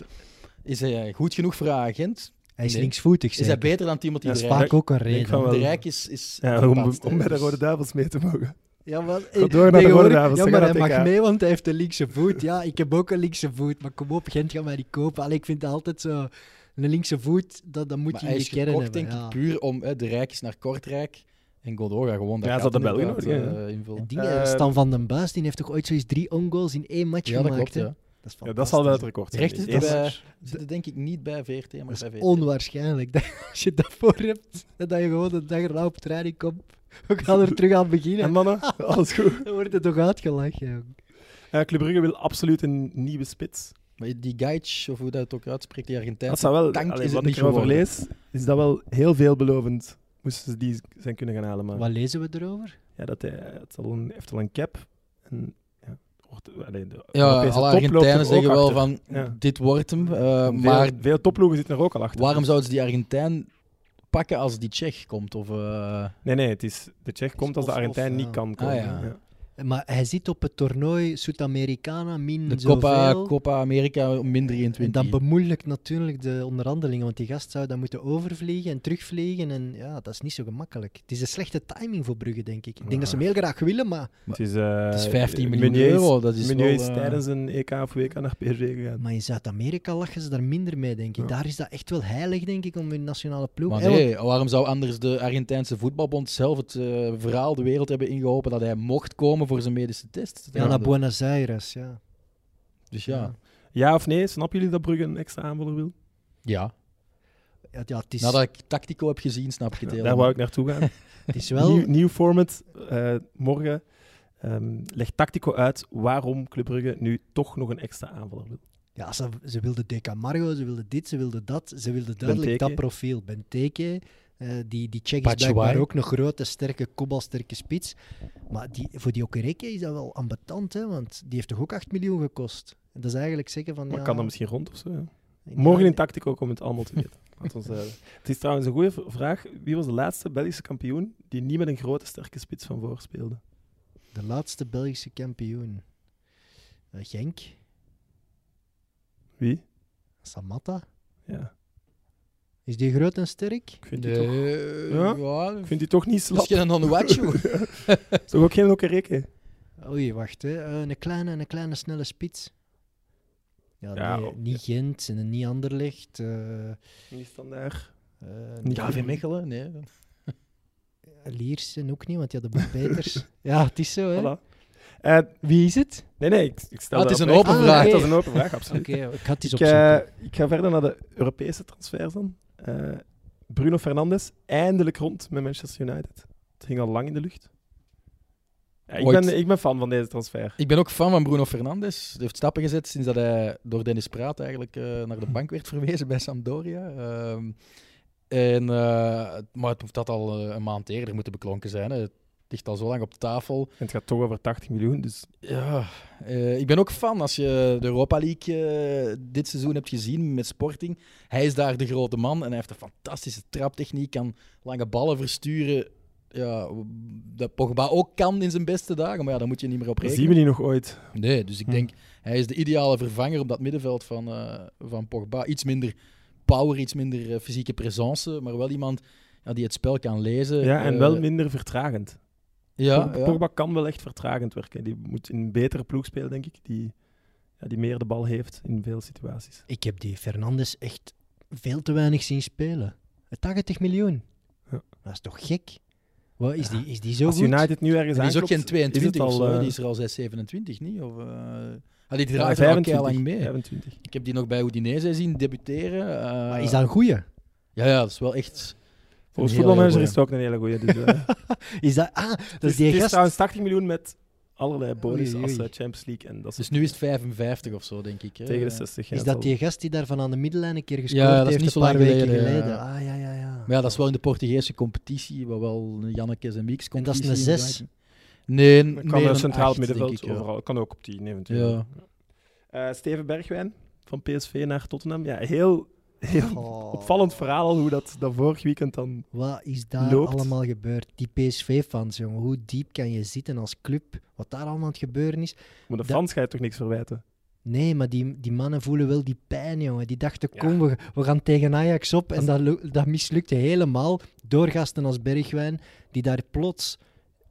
S4: is hij goed genoeg voor agent?
S3: Hij is
S4: Nee.
S3: linksvoetig,
S4: Is
S3: zeg.
S4: hij beter dan Timothy
S2: Ja,
S4: de
S3: Dat is
S4: Rijk?
S3: vaak ook een
S2: denk
S3: reden.
S2: van wel.
S4: De Rijk is, is
S2: Ja, om,
S4: verpast, hè.
S2: om bij de Rode
S4: Dus
S2: Duivels mee te mogen.
S3: Ja, maar,
S2: Godot naar de
S3: tegenwoordig-
S2: Rode Duivels,
S3: ja,
S2: ze
S3: maar
S2: gaan
S3: hij
S2: naar
S3: mag
S2: het EK.
S3: mee, want hij heeft een linkse voet. Ja, ik heb ook een linkse voet, maar kom op, Gent gaat mij niet kopen. Allee, ik vind het altijd zo... Een linkse voet, dat, dat moet
S4: maar
S3: je
S4: hij
S3: in
S4: is
S3: je kern
S4: gekocht,
S3: hebben.
S4: denk
S3: ja.
S4: ik, puur om hè, de Rijk is naar Kortrijk. En Godot gaat gewoon dat
S2: Ja, ze
S4: gat
S2: hadden België
S4: inderdaad,
S2: nodig, hè.
S4: eh, invullen.
S3: Die,
S2: Eh,
S3: eh, Stan van den Buis die heeft toch ooit zoiets drie ongoals in één match
S4: Ja, dat
S3: gemaakt?
S4: klopt.
S3: hè?
S4: Ja.
S3: Dat is
S2: Ja, dat zal wel het
S3: fantastisch.
S2: record zijn.
S4: Rechten
S2: Eerst-
S4: zitten, bij, zitten denk ik niet bij VRT, maar bij
S3: Dat
S4: VT.
S3: is onwaarschijnlijk. Dat, als je dat voor hebt, en dat je gewoon de dag erna op training komt. We gaan er terug aan
S2: En
S3: beginnen.
S2: mannen, alles goed.
S3: Dan wordt het toch uitgelachen. jong.
S2: Eh Club Brugge wil absoluut een nieuwe spits.
S4: Maar die Gaich, of hoe dat het ook uitspreekt, die Argentijn.
S2: Dat zou wel,
S4: tankt
S2: allee,
S4: is het
S2: wat
S4: niet
S2: ik erover
S4: geworden.
S2: lees, is dat wel heel veelbelovend. Moesten ze die zijn kunnen gaan halen. Maar
S3: Wat lezen we erover?
S2: ja, dat hij, eh, het al een, heeft al een cap. En, ja, hoort- allee, de
S4: Ja,
S2: Europese
S4: alle
S2: top loopt er
S4: Argentijnen
S2: ook
S4: zeggen wel
S2: achter.
S4: van,
S2: Ja.
S4: dit wordt hem. eh,
S2: Veel-
S4: maar
S2: veel, topploegen zitten er ook al achter.
S4: waarom zouden ze die Argentijn pakken als die Tsjech komt? Of, eh,
S2: Nee, nee, het is, de Tsjech komt als de
S3: of- of,
S2: Argentijn
S3: ja.
S2: niet kan komen.
S4: Ah, ja.
S2: Ja.
S3: Maar hij zit op het toernooi Suid-Americana min
S4: de
S3: zoveel.
S4: Copa, Copa America min
S3: en
S4: 23.
S3: dat bemoeilijkt natuurlijk de onderhandelingen, want die gast zou dan moeten overvliegen en terugvliegen. En ja, dat is niet zo gemakkelijk. Het is een slechte timing voor Brugge, denk ik. Ik denk dat ze hem heel graag willen, maar,
S2: Het, is, eh,
S4: het is 15 miljoen
S2: Meunier is-
S4: euro. Dat is
S2: Meunier
S4: wel,
S2: is
S4: eh,
S2: tijdens een EK of WK naar PSG gegaan.
S3: maar in Zuid-Amerika lachen ze daar minder mee, denk ik.
S2: Ja.
S3: Daar is dat echt wel heilig, denk ik, om hun nationale ploeg.
S4: Maar
S3: Eh, want-
S4: nee, waarom zou anders de Argentijnse voetbalbond zelf het eh, verhaal de wereld hebben ingeholpen dat hij mocht komen voor zijn medische test?
S3: Ja, naar Buenos Aires, ja.
S4: Dus ja.
S3: Ja.
S2: Ja of nee? Snappen jullie dat Brugge een extra aanvaller wil?
S4: ja.
S3: Ja, ja, het, is,
S4: Nadat ik Tactico heb gezien, snap ik het
S2: Ja,
S4: heel
S2: daar wou ik naartoe gaan.
S3: het is wel...
S2: Nieuw, nieuw format, eh, morgen. Ehm legt Tactico uit waarom Club Brugge nu toch nog een extra aanvaller wil.
S3: Ja, ze, ze wilde DK Mario, ze wilde dit, ze wilde dat. Ze wilde duidelijk
S2: Benteke.
S3: dat profiel. Benteke, eh die, die check is
S4: Batshuayi.
S3: blijkbaar ook een grote, sterke, kopbalsterke spits. Maar die, voor die Okereke is dat wel ambetant, hè, want die heeft toch ook 8 miljoen gekost? En dat is eigenlijk zeggen van...
S2: Maar
S3: ja,
S2: kan dat misschien rond of zo? ja?
S3: ik-
S2: Morgen in Tactico komt het allemaal te weten. Laat ons, eh, het is trouwens een goede v- vraag. Wie was de laatste Belgische kampioen die niet met een grote sterke spits van voor speelde?
S3: De laatste Belgische kampioen. Eh, Genk,
S2: Wie?
S3: Samatta.
S2: Ja.
S3: Is die groot en sterk?
S2: Ik vind, die, toch,
S4: Nee,
S2: Ja?
S4: ja,
S2: ik vind die toch niet slap.
S4: Misschien een Onuachu.
S2: Is toch ook geen lokke reken?
S3: Oei, wacht. Hè. Eh, een kleine en een kleine snelle spits. Ja,
S2: Ja,
S3: nee,
S2: oh,
S3: niet Gent en niet Anderlecht. eh, eh,
S2: Niet standaard.
S3: niet-
S2: KV
S4: Mechelen? Nee.
S3: Liersen ook niet, want die hadden Bob Peters. ja, het is zo, hè.
S2: Voilà. Eh,
S3: Wie is het?
S2: nee, nee, ik, ik stel
S4: Ah, het
S2: dat
S4: is een
S2: oprecht.
S4: open
S2: Ah,
S4: vraag.
S2: nee, Dat is een open vraag,
S3: Oké, oh,
S2: absoluut.
S3: ik had iets
S2: Ik,
S3: opzoeken.
S2: eh, ik ga verder naar de Europese transfers dan. Eh, Bruno Fernandes, eindelijk rond met Manchester United. Het ging al lang in de lucht. Ja, ik,
S4: Ooit.
S2: ben, ik ben fan van deze transfer.
S4: Ik ben ook fan van Bruno Fernandes. Hij heeft stappen gezet sinds dat hij door Dennis Praat eigenlijk eh, naar de bank werd verwezen bij Sampdoria. Ehm, en, eh, maar het hoeft dat al eh, een maand eerder moeten beklonken zijn. Hè. Het ligt al zo lang op tafel.
S2: En het gaat toch over 80 miljoen, dus
S4: Ja, eh, ik ben ook fan als je de Europa League eh, dit seizoen hebt gezien met Sporting. Hij is daar de grote man en hij heeft een fantastische traptechniek, kan lange ballen versturen. Ja, w- dat Pogba ook kan in zijn beste dagen, maar ja, daar moet je niet meer op
S2: zien we
S4: rekenen.
S2: die nog ooit.
S4: Nee, dus
S2: Hm.
S4: ik denk, hij is de ideale vervanger op dat middenveld van, eh, van Pogba. Iets minder power, iets minder eh, fysieke presence, maar wel iemand ja, die het spel kan lezen.
S2: Ja, en
S4: Eh,
S2: wel minder vertragend.
S4: ja,
S2: Pogba-
S4: ja.
S2: Pogba kan wel echt vertragend werken. Die moet in een betere ploeg spelen, denk ik. Die, ja, die meer de bal heeft in veel situaties.
S3: Ik heb die Fernandes echt veel te weinig zien spelen. 80 miljoen.
S2: Ja.
S3: Dat is toch gek? Wat, is, die, is die zo
S2: Als
S3: goed?
S2: United nu ergens
S4: En die is ook
S2: aanklopt,
S4: geen 22
S2: is het al,
S4: of zo, hè.
S2: eh,
S4: die is er al 6, 27, niet? Of, eh, ah, die
S2: ja,
S4: draait er al
S2: 25,
S4: keihard lang mee.
S2: 25.
S4: Ik heb die nog bij Udinese zien debuteren. eh,
S3: Maar Ah, is dat een goeie?
S4: Ja, ja, dat is wel echt...
S2: Volgens
S4: hele
S2: voetbalmanager
S4: goeie.
S2: is het ook een hele goeie. Dus, eh,
S3: Is dat... Ah, dat
S2: Dus
S3: is die
S2: het is
S3: gast.
S2: trouwens 80 miljoen met allerlei bonussen
S3: Oei,
S2: als
S3: oei.
S2: eh, Champions League. En dat is
S4: Dus nu is het 55 of zo, denk ik. hè.
S2: tegen de 60. ja,
S3: Is
S2: het
S3: dat
S2: zal-
S3: die gast die daarvan aan de middellijn een keer gescoord
S4: Ja, dat is
S3: heeft
S4: niet zo
S3: een paar
S4: lang
S3: weken
S4: geleden,
S3: geleden?
S4: ja.
S3: Ah, ja, ja, ja.
S4: Maar ja, dat is wel in de Portugese competitie, waar wel Jannekes en Mieks
S3: En dat is
S4: competitie...
S3: een
S4: in
S3: zes.
S4: draait. Nee, n-
S2: Het
S4: meer
S2: Kan
S4: een
S2: een centraal
S4: acht,
S2: middenveld
S4: denk ik, ja.
S2: overal. Het Kan ook op 10 eventueel.
S4: Ja.
S2: Eh, Steven Bergwijn van PSV naar Tottenham. Ja, heel, heel
S3: Oh.
S2: opvallend verhaal al hoe dat, dat vorig weekend dan...
S3: Wat is daar
S2: loopt.
S3: allemaal gebeurd? Die PSV-fans, jongen. Hoe diep kan je zitten als club? Wat daar allemaal aan het gebeuren is?
S2: Maar de
S3: Dat-
S2: fans ga je toch niks verwijten?
S3: Nee, maar die, die mannen voelen wel die pijn, jongen. Die dachten,
S2: Ja.
S3: kom, we, we gaan tegen Ajax op. En dat, lu- dat mislukte helemaal door gasten als Bergwijn, die daar plots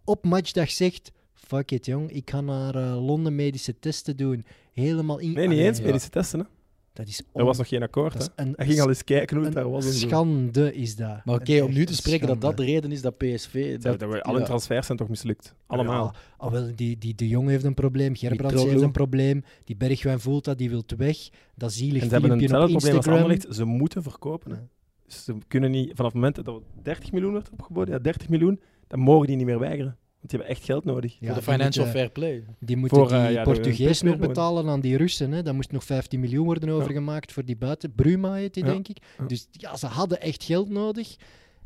S3: op matchdag zegt... Fuck it, jong. Ik ga naar eh, Londen medische testen doen. Helemaal in...
S2: Nee, niet eens.
S3: Ah, Ja.
S2: Medische testen, hè.
S3: Dat is
S2: Er was nog geen akkoord,
S3: dat is
S2: hè.
S3: een,
S2: Hij ging al eens kijken hoe het
S3: een
S2: daar was. en zo.
S3: schande is dat.
S4: Maar oké,
S3: Een
S4: om nu
S3: echte
S4: te spreken dat dat
S3: schande.
S4: de reden is dat PSV...
S2: Ja, dat we- Alle
S4: ja.
S2: transfers zijn toch mislukt? Allemaal.
S3: Ja, al wel, die, die De Jong heeft een probleem, Gerbrands
S4: Mitroglou.
S3: heeft een probleem, die Bergwijn voelt dat, die wil weg. Dat zielig
S2: en ze hebben
S3: Filipje
S2: hetzelfde
S3: op
S2: probleem als
S3: Instagram.
S2: Anderlecht. Ze moeten verkopen. hè.
S3: Ja.
S2: Dus ze kunnen niet, vanaf het moment dat er 30 miljoen wordt opgeboden, ja, 30 miljoen, dan mogen die niet meer weigeren. Want die hebben echt geld nodig.
S3: Ja,
S4: Voor de
S3: die eh,
S4: financial
S3: moeten-
S4: fair play.
S3: Die moeten
S2: Voor,
S3: die
S2: eh, ja, de- een
S3: Portugees
S2: plus
S3: nog
S2: meer
S3: betalen aan die Russen. Hè. Daar moest nog 15 miljoen worden overgemaakt voor die buiten. Bruma heet die,
S2: Ja.
S3: denk ik.
S2: Ja.
S3: Dus ja, ze hadden echt geld nodig.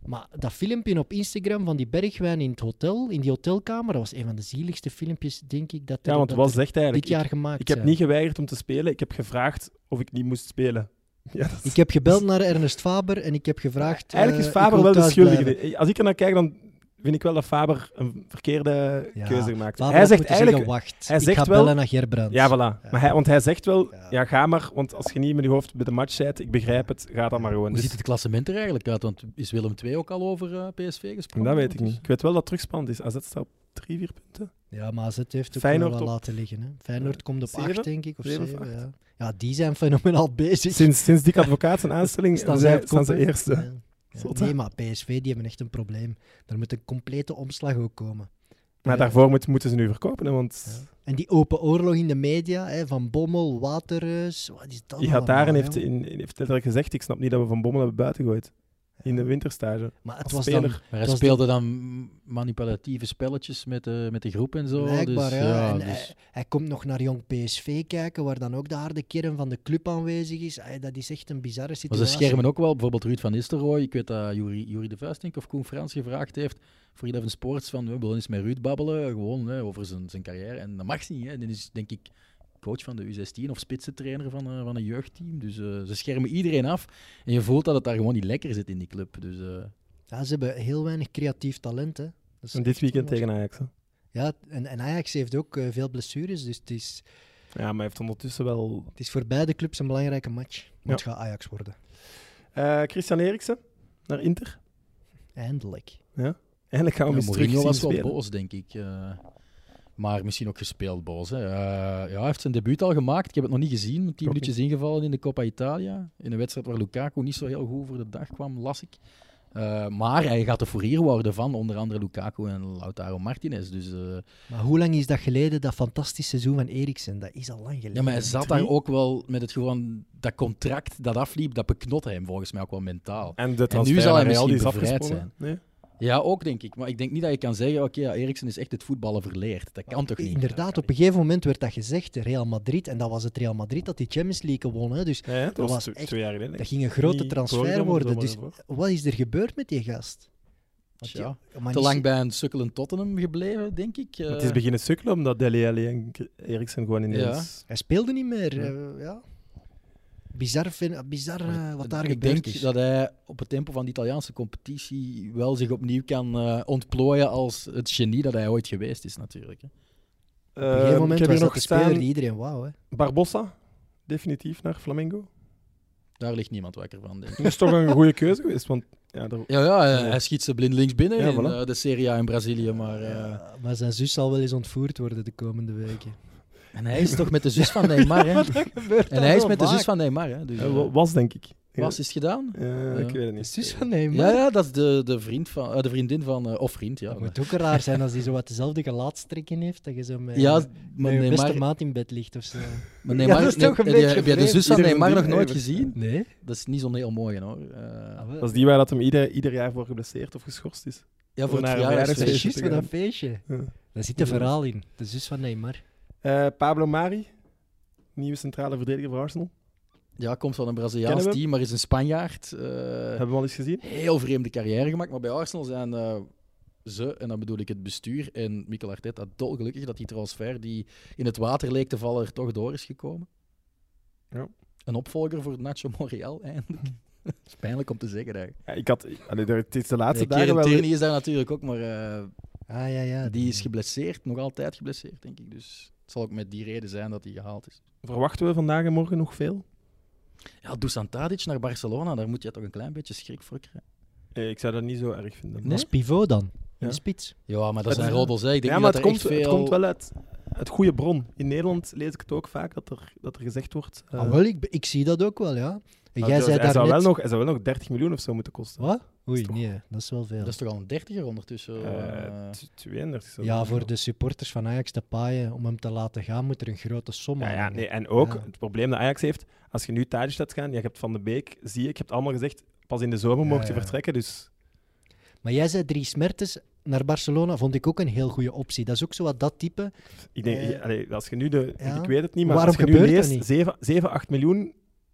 S3: Maar dat filmpje op Instagram van die Bergwijn in het hotel, in die hotelkamer, dat was een van de zieligste filmpjes, denk ik, dat, er,
S2: Ja, want
S3: dat
S2: wat
S3: er
S2: zegt
S3: dit
S2: eigenlijk?
S3: jaar
S2: Ik,
S3: gemaakt
S2: ik heb
S3: zijn.
S2: niet geweigerd om te spelen, ik heb gevraagd of ik niet moest spelen. Ja, dat is-
S3: Ik heb gebeld naar Ernest Faber en ik heb gevraagd...
S2: eigenlijk
S3: eh,
S2: is
S3: ik
S2: Faber
S3: wil
S2: wel de
S3: thuis blijven.
S2: schuldige. Eh, Als ik er naar kijk, dan vind ik wel dat Faber een verkeerde
S3: Ja,
S2: keuze gemaakt heeft.
S3: Faber
S2: Hij
S3: had
S2: zegt
S3: moeten
S2: eigenlijk...
S3: zeggen, wacht,
S2: hij
S3: ik
S2: zegt
S3: ga
S2: wel-
S3: bellen naar Gerbrands.
S2: Ja, voilà. Maar hij, want hij zegt wel,
S3: Ja.
S2: ja. ga maar, want als je niet met je hoofd bij de match zit, ik begrijp het, ga dan maar gewoon.
S4: Hoe
S2: Dus-
S4: ziet het klassement er eigenlijk uit? Want is Willem II ook al over eh, PSV gesproken? Dus-
S2: dat weet ik niet. Ik weet wel dat het terugspannend is. AZ staat op drie, vier punten.
S3: Ja, maar AZ heeft ook
S2: Feyenoord
S3: wel wat
S2: op-
S3: laten liggen. Hè. Feyenoord komt op
S2: Zeven?
S3: 8, denk ik, of
S2: Zeven
S3: 7.
S2: of acht?
S3: ja. ja, die zijn fenomenaal bezig.
S2: Sinds, sinds Dick Advocaat zijn aanstelling
S3: Staan
S2: staan,
S3: zij op
S2: zij, staan
S3: kop,
S2: ze
S3: hè?
S2: eerste.
S3: Ja. Ja,
S2: Zot, hè?
S3: Nee, maar PSV, die hebben echt een probleem. Daar moet een complete omslag ook komen.
S2: Maar
S3: Ja.
S2: daarvoor moet- moeten ze nu verkopen, hè, want
S3: En die open oorlog in de media, hè, van Bommel, Waterreus, wat is dat
S2: die gaat daar en
S3: allemaal,
S2: heeft,
S3: joh?
S2: in, in- heeft letterlijk gezegd, ik snap niet dat we Van Bommel hebben buiten gegooid. In de winterstage.
S3: Maar het
S2: als
S3: was
S2: speler.
S3: dan
S4: Maar
S3: Het
S4: hij
S3: was
S4: speelde dan manipulatieve spelletjes met de, met de groep en zo.
S3: Blijkbaar,
S4: dus,
S3: ja.
S4: ja,
S3: en eh,
S4: dus
S3: hij, hij komt nog naar jong PSV kijken, waar dan ook de harde kern van de club aanwezig is. Ay, dat is echt een bizarre
S4: maar
S3: situatie.
S4: ze schermen ook wel, bijvoorbeeld Ruud van Nistelrooy. Ik weet dat Jury, Jury de Vuist denk ik, of Koen Frans gevraagd heeft voor Eleven Sports van we willen eens met Ruud babbelen, gewoon hè, over zijn, zijn carrière. En dat mag niet. Hè. Die is denk ik coach van de U16 of spitsentrainer van, eh, van een jeugdteam. Dus eh, ze schermen iedereen af. En je voelt dat het daar gewoon niet lekker zit in die club. Dus eh,
S3: Ja, ze hebben heel weinig creatief talent. Hè. Dat is
S2: En dit
S3: echt
S2: weekend
S3: onwaar-
S2: tegen Ajax. hè.
S3: Ja, en, en Ajax heeft ook eh, veel blessures, dus het is,
S2: Ja, maar hij heeft ondertussen wel...
S3: het is voor beide clubs een belangrijke match. Want het gaat Ajax worden.
S2: Eh, Christian Eriksen naar Inter.
S3: Eindelijk.
S2: Eindelijk gaan we
S4: ja,
S2: hem eens terug
S4: Mourinho
S2: zien
S4: was wel
S2: spelen.
S4: boos, denk ik. eh. Maar misschien ook gespeeld boos. Hè. Eh, ja, hij heeft zijn debuut al gemaakt. Ik heb het nog niet gezien. Tien
S2: ook
S4: minuutjes ingevallen in de Coppa Italia. In een wedstrijd waar Lukaku niet zo heel goed voor de dag kwam, las ik. Eh, maar hij gaat de fourier worden van onder andere Lukaku en Lautaro Martinez. Dus, eh,
S3: Maar hoe lang is dat geleden, dat fantastische seizoen van Eriksen? Dat is al lang geleden.
S4: ja, maar hij zat
S2: Drie.
S4: daar ook wel met het gewoon dat contract dat afliep. Dat beknotte hem volgens mij ook wel mentaal.
S2: En de
S4: zal
S2: transfer
S4: hij
S2: naar Real
S4: misschien
S2: die is
S4: bevrijd
S2: afgesprongen.
S4: zijn.
S2: Nee?
S4: Ja, ook denk ik. Maar ik denk niet dat je kan zeggen: oké, ja, Eriksen is echt het voetballen verleerd. Dat kan toch niet?
S3: Inderdaad, op een gegeven moment werd dat gezegd, Real Madrid. En dat was het Real Madrid dat die Champions League won. Hè. Dus
S2: Ja, ja, dat,
S3: Dat
S2: was,
S3: was
S2: twee-
S3: echt-
S2: twee jaar geleden.
S3: dat ging een grote
S2: Niet
S3: transfer
S2: Rotterdam,
S3: worden.
S2: maar
S3: Dus
S2: voor.
S3: wat is er gebeurd met die gast? Want
S4: Tja.
S3: ja, maar
S4: Te
S3: niet-
S4: lang bij een sukkelend Tottenham gebleven, denk ik.
S2: Maar Het
S4: Eh,
S2: is beginnen sukkelen omdat Deli Alli en K- Eriksen gewoon ineens...
S3: Hij speelde niet meer.
S2: Ja.
S3: eh, ja. Bizar, vind- bizar eh,
S4: Maar
S3: wat daar
S4: ik
S3: gebeurd
S4: denk
S3: is.
S4: dat hij op het tempo van de Italiaanse competitie wel zich opnieuw kan eh, ontplooien als het genie dat hij ooit geweest is, natuurlijk. Hè.
S2: Ja.
S3: op een
S4: eh,
S3: gegeven
S2: ik
S3: moment
S2: heb
S3: was
S2: hier Eh, nog
S3: dat de speler
S2: staan.
S3: die iedereen wou. Hè.
S2: Barbossa, definitief naar Flamengo.
S4: Daar ligt niemand wakker van, denk ik.
S2: Dat is toch een goede keuze geweest, want... Ja, daar-
S4: Ja, ja, eh,
S2: Ja.
S4: hij schiet ze blind links binnen
S2: Ja,
S4: in
S2: voilà.
S4: eh, de Serie A in Brazilië, maar... eh,
S3: Ja, maar zijn zus zal wel eens ontvoerd worden de komende weken.
S4: En hij is toch met de zus van Neymar, hè? En hij is met de zus van Neymar, hè? Dus,
S2: eh,
S4: eh,
S2: wa- was, denk ik.
S4: was is het gedaan?
S2: Eh, Ik
S4: Ja.
S2: weet het
S3: De
S2: niet.
S3: zus van nee,
S4: Ja, ja, dat is de, de, vriend van, eh, de vriendin van... eh, of vriend, ja.
S3: Dat moet ook raar zijn als hij zo wat dezelfde gelaatstrekken heeft. Dat je zo met,
S4: Ja,
S3: met
S4: maar
S3: je
S4: Neymar...
S3: beste maat in bed ligt of zo.
S4: maar Neymar
S3: Ja, dat is toch een
S4: heb je-
S3: beetje
S4: Heb je de
S3: vreemd.
S4: zus van
S2: Ieder
S4: Neymar nog
S2: vriendin
S4: nooit
S2: heeft-
S4: gezien?
S3: Nee?
S4: Dat is niet zo'n heel mooie, hoor.
S3: Ah,
S4: Eh,
S2: Dat is die waar dat hem ieder, ieder jaar voor geblesseerd of geschorst is.
S4: Ja,
S2: Om
S4: voor het
S2: naar een
S3: dat
S2: verjaardagsfeest
S4: verjaardagsfeestje.
S3: is
S2: feestje
S3: juist
S2: te
S3: voor
S2: gaan.
S3: dat feestje.
S2: Ja.
S3: Daar zit een verhaal in. De zus van Neymar.
S2: Eh, Pablo Mari, nieuwe centrale verdediger voor Arsenal.
S4: Ja, komt van een
S2: Kennen
S4: Braziliaans
S2: we hem?
S4: team, maar is een Spanjaard. Eh,
S2: Hebben we al eens gezien?
S4: heel vreemde carrière gemaakt, maar bij Arsenal zijn eh, ze, en dan bedoel ik het bestuur en Mikel Arteta, dolgelukkig dat die transfer die in het water leek te vallen er toch door is gekomen.
S2: Ja.
S4: Een opvolger voor Nacho Monreal, eindelijk. Dat is pijnlijk om te zeggen eigenlijk.
S2: Ja, ik had... Allee, er- het is de laatste
S4: Nee,
S2: dagen
S4: Kieran
S2: wel...
S4: Tierney is daar natuurlijk ook, maar eh,
S3: Ah ja, ja.
S4: die is geblesseerd, nog altijd geblesseerd denk ik. Dus het zal ook met die reden zijn dat hij gehaald is.
S2: Verwachten we vandaag en morgen nog veel?
S4: Ja, Dusan Tadic naar Barcelona, daar moet je toch een klein beetje schrik voor krijgen.
S2: Eh, ik zou dat niet zo erg vinden.
S4: Nee?
S3: Als pivot dan.
S2: Ja.
S3: In de spits.
S4: Ja, maar dat
S2: Het-
S4: zijn roddels. hè. Ik denk
S2: ja,
S4: niet
S2: maar
S4: dat
S2: het
S4: er
S2: komt,
S4: echt
S2: het
S4: veel-
S2: komt wel uit, uit goede bron. In Nederland lees ik het ook vaak dat er, dat er gezegd wordt. eh,
S3: ah, wel, ik, ik zie dat ook wel, ja. En
S2: nou,
S3: jij
S2: dus
S3: zei
S2: hij,
S3: daar
S2: zou
S3: net...
S2: wel nog, hij zou wel nog 30 miljoen of zo moeten kosten.
S3: Wat? Oei,
S2: Is toch-
S3: nee. Dat is wel veel.
S4: Dat is toch al een dertiger ondertussen?
S2: Eh,
S4: eh.
S2: t- 32 zou
S3: Ja,
S2: dat
S3: voor
S2: zijn.
S3: de supporters van Ajax te paaien om hem te laten gaan, moet er een grote som
S2: Ja,
S3: aan.
S2: ja,
S3: hangen.
S2: nee, en ook
S3: Ja.
S2: het probleem dat Ajax heeft, als je nu Tadic laat gaan, ja, je hebt Van de Beek, zie ik, je hebt allemaal gezegd, pas in de zomer
S3: Ja,
S2: mocht je
S3: ja.
S2: vertrekken, dus
S3: Maar jij zei drie smertes naar Barcelona, vond ik ook een heel goede optie. Dat is ook zo wat dat type.
S2: ik denk,
S3: Eh,
S2: je- allee, als je nu de,
S3: ja.
S2: ik weet het niet, maar
S3: Waarom
S2: als je nu
S3: gebeurt dat
S2: leest,
S3: niet?
S2: 7, 7, 8 miljoen,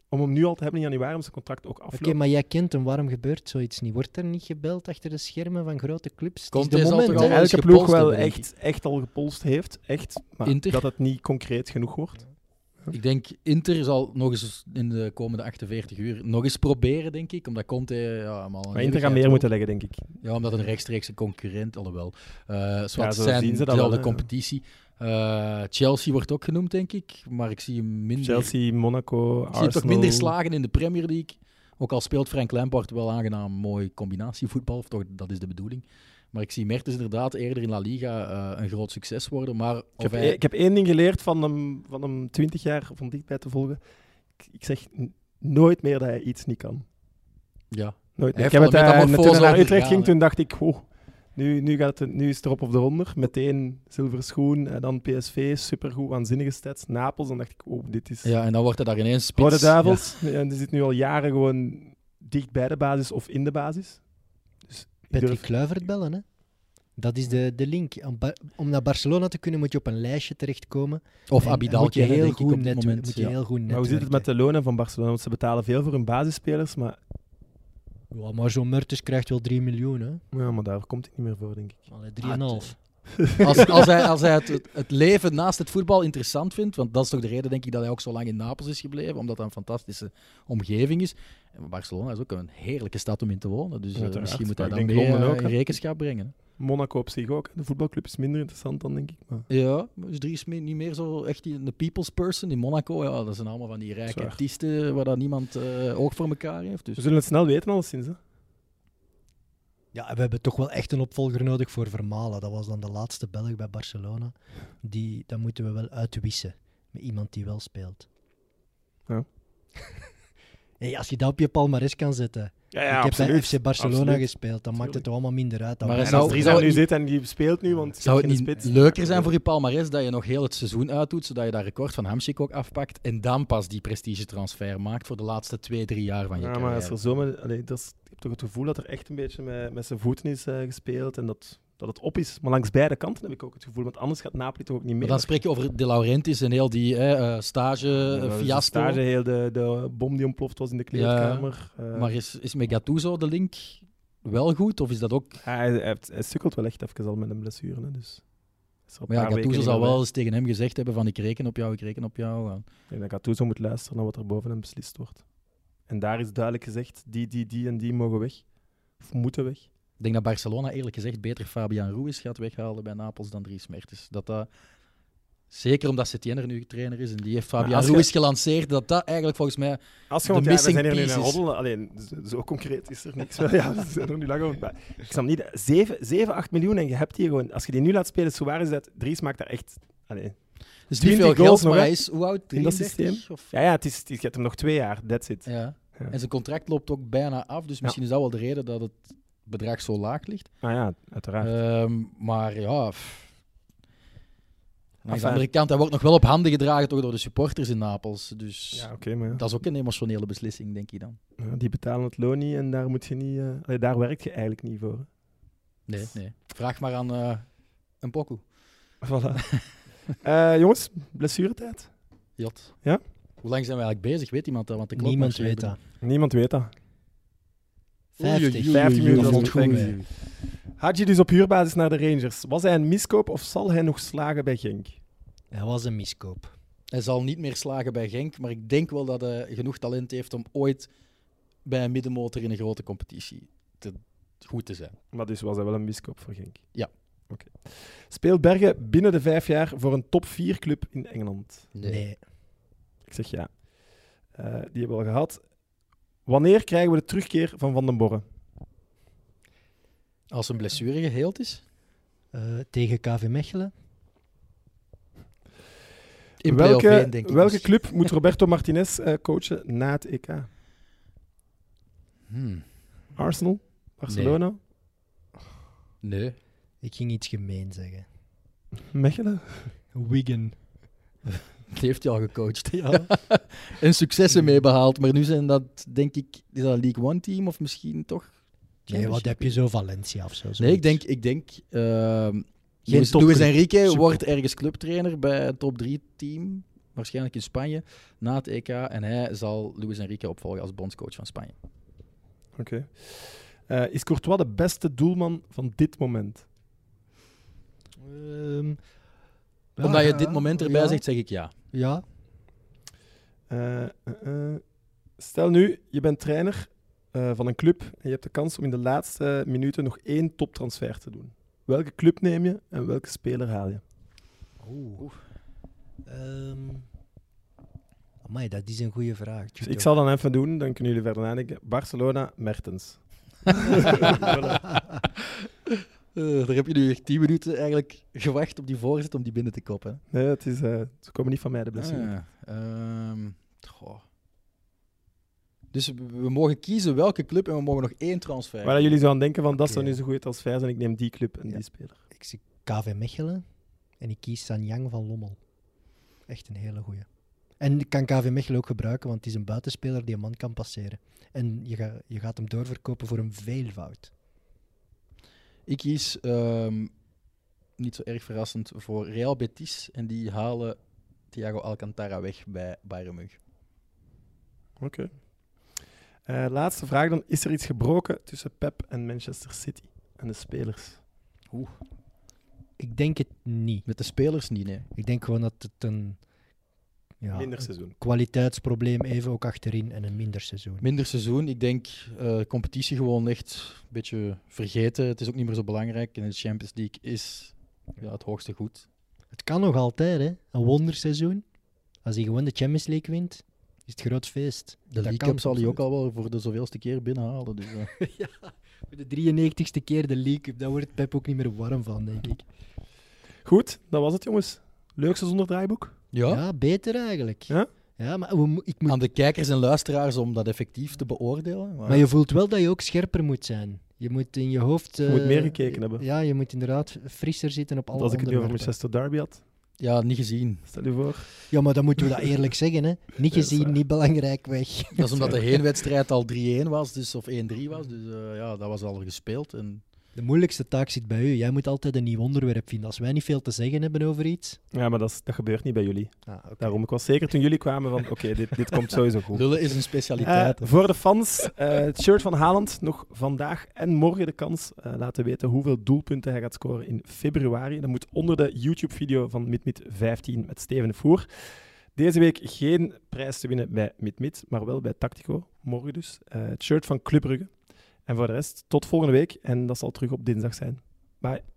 S2: om hem nu al te hebben in januari, om zijn contract ook af
S3: Oké,
S2: te lopen.
S3: maar jij kent hem. Waarom gebeurt zoiets niet? Wordt er niet gebeld achter de schermen van grote clubs? Het
S4: Conte
S3: is
S4: zal
S3: de
S4: toch
S3: moment,
S4: al
S3: hè?
S4: wel eens
S2: elke ploeg
S4: gepolst
S2: wel
S4: hebben, denk
S2: echt, echt al gepolst heeft, echt, maar
S4: Inter?
S2: dat het niet concreet genoeg wordt.
S4: Ik denk, Inter zal nog eens in de komende 48 uur nog eens proberen, denk ik. Omdat Conte... Ja, hem al een
S2: Maar Inter gaat
S4: eeuwigheid
S2: meer
S4: roept.
S2: moeten leggen, denk ik.
S4: Ja, omdat een rechtstreekse concurrent, alhoewel. eh zwart
S2: Ja, zo
S4: zijn
S2: zien ze dat wel,
S4: dezelfde
S2: hè, ja.
S4: competitie. Eh, Chelsea wordt ook genoemd, denk ik. Maar ik zie hem minder...
S2: Chelsea, Monaco,
S4: ik
S2: Arsenal.
S4: zie hem toch minder slagen in de Premier League. Ook al speelt Frank Lampard wel aangenaam mooi combinatievoetbal, of toch, dat is de bedoeling. Maar ik zie Mertens inderdaad eerder in La Liga eh, een groot succes worden. Maar
S2: Ik heb,
S4: of hij-
S2: e- ik heb één ding geleerd van hem, van hem 20 jaar van dichtbij te volgen. Ik, ik zeg n- nooit meer dat hij iets niet kan.
S4: ja,
S2: Nooit
S4: Hij
S2: meer. Ik heb het,
S4: heeft wel een
S2: eh, toen
S4: metamorfose
S2: hij naar Utrecht
S4: ondergaan,
S2: ging,
S4: hè.
S2: toen dacht ik, goh, nu, nu, gaat het, nu is het erop of eronder. Meteen zilveren schoen, en dan PSV, supergoed, waanzinnige stats. Napels, dan dacht ik, oh, dit is...
S4: Ja, en dan wordt hij daar ineens spits.
S2: Rode Duivels, ja. die zit nu al jaren gewoon dicht bij de basis of in de basis. Dus ik
S3: Patrick
S2: durf-
S3: Kluivert bellen, hè? Dat is de, de link. Om, Ba- om naar Barcelona te kunnen moet je op een lijstje terechtkomen.
S4: Ja. Of
S3: En-
S4: Abidal
S3: en moet je
S4: kennen,
S3: heel
S4: denk ik,
S3: goed
S4: op dit
S3: net-
S4: moment.
S3: Moet je
S4: Ja.
S3: heel goed
S2: maar hoe zit het met
S3: netwerken.
S2: de lonen van Barcelona? Want ze betalen veel voor hun basisspelers, maar,
S3: Ja, maar zo'n Mertens krijgt wel 3 miljoen, hè?
S2: ja, maar daar komt het niet meer voor, denk ik.
S3: Allee, 3,5.
S4: Als, als hij, als hij het- het, het leven naast het voetbal interessant vindt, want dat is toch de reden, denk ik, dat hij ook zo lang in Napels is gebleven, omdat dat een fantastische omgeving is. En Barcelona is ook een heerlijke stad om in te wonen, dus eh,
S2: Uiteraard,
S4: misschien moet
S2: maar
S4: hij
S2: ik
S4: dan
S2: denk
S4: mee,
S2: Londen
S4: eh,
S2: ook, hè.
S4: in rekenschap brengen.
S2: Monaco op zich ook. De voetbalclub is minder interessant dan, denk ik. Maar...
S4: Ja, dus drie is me- niet meer zo echt die- een people's person in Monaco. Ja, dat zijn allemaal van die rijke
S2: Zwaar.
S4: artiesten waar dan niemand eh, oog voor elkaar heeft. Dus.
S2: We zullen het snel weten, alleszins. Hè?
S3: Ja, en we hebben toch wel echt een opvolger nodig voor Vermalen. Dat was dan de laatste Belg bij Barcelona. Die, dat moeten we wel uitwissen met iemand die wel speelt.
S2: Ja.
S3: hey, als je dat op je palmares kan zetten.
S2: Ja,
S3: ik heb bij FC Barcelona
S2: Absoluut.
S3: gespeeld, dan maakt het toch allemaal minder uit. Dan
S4: Maar
S3: wij-
S2: En
S4: Zou-
S2: als Driesa
S4: zou
S2: nu
S4: het niet-
S2: zit en die speelt nu, want je
S4: Zou het
S2: hebt
S4: niet
S2: geen spits.
S4: leuker zijn voor je palmarès dat je nog heel het seizoen uitdoet, zodat je dat record van Hamsik ook afpakt en dan pas die prestigetransfer maakt voor de laatste twee, drie jaar van je
S2: Ja, maar
S4: carrière?
S2: als er zomaar, allee, dat is, ik heb toch het gevoel dat er echt een beetje met, met zijn voeten is eh, gespeeld en dat, dat het op is. Maar langs beide kanten heb ik ook het gevoel, want anders gaat Napoli toch ook niet
S4: Maar
S2: meer.
S4: dan spreek je over De Laurentiis en heel die hè, eh, stage, eh, fiasco.
S2: stage, heel de, de bom die ontploft was in de kleedkamer. eh,
S4: Maar is, is met Gattuso de link wel goed? Of is dat ook...
S2: Eh, hij, hij, heeft- hij sukkelt wel echt even al met een blessure. Hè, dus. Is er een
S4: Maar ja,
S2: paar weken
S4: Gattuso
S2: niet
S4: zal
S2: meer bij.
S4: wel eens tegen hem gezegd hebben van ik reken op jou, ik reken op jou.
S2: Ik denk dat Gattuso moet luisteren naar wat er boven hem beslist wordt. En daar is duidelijk gezegd, die, die, die en die mogen weg. Of moeten weg.
S4: Ik denk dat Barcelona eerlijk gezegd beter Fabian Ruiz gaat weghalen bij Napels dan Dries Mertens. Dat dat, zeker omdat Setien er nu trainer is en die heeft
S2: Maar
S4: Fabian
S2: als je-
S4: Ruiz gelanceerd, dat dat eigenlijk volgens mij...
S2: Als je,
S4: De
S2: want ja, we
S4: missing
S2: zijn hier nu aan
S4: pieces.
S2: roddelen, alleen zo- zo concreet is er niks. Wel, ja, we zijn er nu lang over. Maar ik snap niet, 7, 7, 8 miljoen en je hebt hier gewoon, als je die nu laat spelen, Suarez uit, Dries maakt daar echt. Allee.
S4: Dus niet
S2: 20
S4: veel
S2: goals
S4: geld,
S2: nog,
S4: maar
S2: hè?
S4: hij is hoe oud?
S2: In dat
S4: 33? Of...
S2: Ja, ja het is, het is, je hebt hem nog twee jaar, that's it.
S4: Ja.
S2: Ja.
S4: En zijn contract loopt ook bijna af, dus misschien is dat wel de reden dat het bedrag zo laag ligt.
S2: Ah ja, uiteraard.
S4: Ehm, maar ja... pff. Aan
S2: Enfin.
S4: de andere kant, hij wordt nog wel op handen gedragen toch door de supporters in Napels. Dus
S2: ja, oké, maar ja.
S4: dat is ook een emotionele beslissing, denk ik dan.
S2: Ja, Die betalen het loon niet en daar, moet je niet, eh, allee, daar werk je eigenlijk niet voor.
S4: Nee, nee. Vraag maar aan eh, een pokoe.
S2: hè. Voilà. Eh, jongens, blessuretijd.
S4: Jot.
S2: Ja?
S4: Hoe lang zijn we eigenlijk bezig? Weet iemand dat? Want de klok
S3: Niemand
S4: marcheert
S3: weet dat.
S4: binnen.
S2: Niemand weet dat.
S3: 50.
S2: 15 minuten
S3: dat
S2: als het
S3: valt goed
S2: goed
S3: mee.
S2: Hadji dus op huurbasis naar de Rangers. Was hij een miskoop of zal hij nog slagen bij Genk?
S3: Dat was een miskoop.
S4: Hij zal niet meer slagen bij Genk, maar ik denk wel dat hij genoeg talent heeft om ooit bij een middenmotor in een grote competitie te, goed te zijn.
S2: Maar dus was hij wel een miskoop voor Genk?
S4: Ja.
S2: Oké. Speelt Bergen binnen de vijf jaar voor een top 4 club in Engeland?
S3: Nee.
S2: Ik zeg ja. Eh, die hebben we al gehad. Wanneer krijgen we de terugkeer van Van den Borre?
S4: Als een blessure geheeld is,
S3: Eh, tegen KV Mechelen.
S4: in
S2: welke
S4: play-off één, denk ik. dus.
S2: welke club moet Roberto Martinez eh, coachen na het EK?
S4: Hmm.
S2: Arsenal? Barcelona?
S4: Nee.
S3: Ik ging iets gemeen zeggen.
S2: Mechelen?
S3: Wigan.
S4: Die heeft hij al gecoacht. Ja. en successen mee behaald. Maar nu zijn dat, denk ik, is dat een League One team of misschien toch?
S3: Nee, wat heb je zo? Valencia of zo?
S4: Nee,
S3: zoiets.
S4: ik denk, ik denk ehm Luis,
S3: topclub.
S4: Luis Enrique
S3: Super.
S4: wordt ergens clubtrainer bij een top 3 team, waarschijnlijk in Spanje, na het EK. En hij zal Luis Enrique opvolgen als bondscoach van Spanje.
S2: Oké. Eh, is Courtois de beste doelman van dit moment?
S3: Ehm, ja,
S4: Omdat je
S3: ja,
S4: dit moment erbij
S3: ja,
S4: zegt, zeg ik Ah, ja.
S3: Ja,
S2: Eh, eh, eh. Stel nu, je bent trainer eh, van een club en je hebt de kans om in de laatste minuten nog één toptransfer te doen. Welke club neem je en welke speler haal je? Dus
S3: Oeh. Ehm amai, dat is een goede vraag.
S2: Dus ik zal dan even doen, dan kunnen jullie verder nadenken. Barcelona, Mertens.
S4: Eh, daar heb je nu echt 10 minuten eigenlijk gewacht op die voorzet om die binnen te koppen.
S2: Nee, het is, eh, ze komen niet van mij, de
S4: hè.
S2: blessure.
S4: Ah, Ehm, goh. Dus we, we mogen kiezen welke club en we mogen nog één transfer.
S2: Waar dat jullie zo aan denken van, dat zou
S3: Oké.
S2: nu zo'n goede transfer zijn, ik neem die club en
S3: Ja.
S2: die speler.
S3: Ik zie KV Mechelen en ik kies Sanjang van Lommel. Echt een hele goeie. En ik kan KV Mechelen ook gebruiken, want het is een buitenspeler die een man kan passeren. En je, ga- je gaat hem doorverkopen voor een veelvoud.
S4: Ik kies, ehm, niet zo erg verrassend, voor Real Betis. En die halen Thiago Alcantara weg bij Bayern München.
S2: Eh, laatste vraag dan, is er iets gebroken tussen Pep en Manchester City? En de spelers?
S3: Ik denk het niet.
S4: Met de spelers niet, nee.
S3: Ik denk gewoon dat het een ja,
S2: Minder
S3: een
S2: seizoen.
S3: kwaliteitsprobleem even ook achterin en een minder seizoen.
S4: Minder seizoen. Ik denk eh, competitie gewoon echt een beetje vergeten. Het is ook niet meer zo belangrijk. En de Champions League is ja, het hoogste goed.
S3: Het kan nog altijd, hè? Een wonderseizoen. Als hij gewoon de Champions League wint, is het groot feest.
S4: De League
S3: kan
S4: Cup zal hij ook
S3: absoluut.
S4: al wel voor de zoveelste keer binnenhalen. Dus, eh.
S3: Voor de 93ste keer de League Cup. Daar wordt Pep ook niet meer warm van, denk ik.
S2: Goed, dat was het, jongens. Leuk seizoen zonder draaiboek.
S4: Ja. Ah.
S3: Ja, beter eigenlijk.
S2: Ja?
S3: Ja, maar we, mo- ik moet
S4: Aan de kijkers en luisteraars om dat effectief te beoordelen. Maar,
S3: Maar je voelt wel dat je ook scherper moet zijn. Je moet in je hoofd...
S2: Je moet
S3: eh,
S2: meer gekeken hebben.
S3: Ja, je moet inderdaad frisser zitten op alle
S2: Want als ik het nu over
S3: onderwerpen.
S2: Manchester Derby had,
S4: Ja, niet gezien.
S2: stel je voor.
S3: Ja, maar dan moeten we dat eerlijk zeggen, hè. Niet
S2: Ja, dat is
S3: gezien,
S2: waar.
S3: niet belangrijk, weg.
S4: Dat is omdat de heenwedstrijd al 3-1 was, dus, of 1-3 was. Dus eh, ja, dat was al gespeeld. En
S3: De moeilijkste taak zit bij u. Jij moet altijd een nieuw onderwerp vinden. Als wij niet veel te zeggen hebben over iets...
S2: Ja, maar dat, is- dat gebeurt niet bij jullie.
S3: Ah, oké.
S2: Daarom, ik was zeker toen jullie kwamen van, oké, dit, dit komt sowieso goed.
S4: lullen is een specialiteit.
S2: Eh, voor de fans, eh, het shirt van Haaland nog vandaag en morgen de kans eh, laten weten hoeveel doelpunten hij gaat scoren in februari. Dat moet onder de YouTube-video van MidMid 15 met Steven de Voer. Deze week geen prijs te winnen bij MidMid, maar wel bij Tactico, morgen dus. Eh, het shirt van Club Brugge. En voor de rest, tot volgende week en dat zal terug op dinsdag zijn. Bye.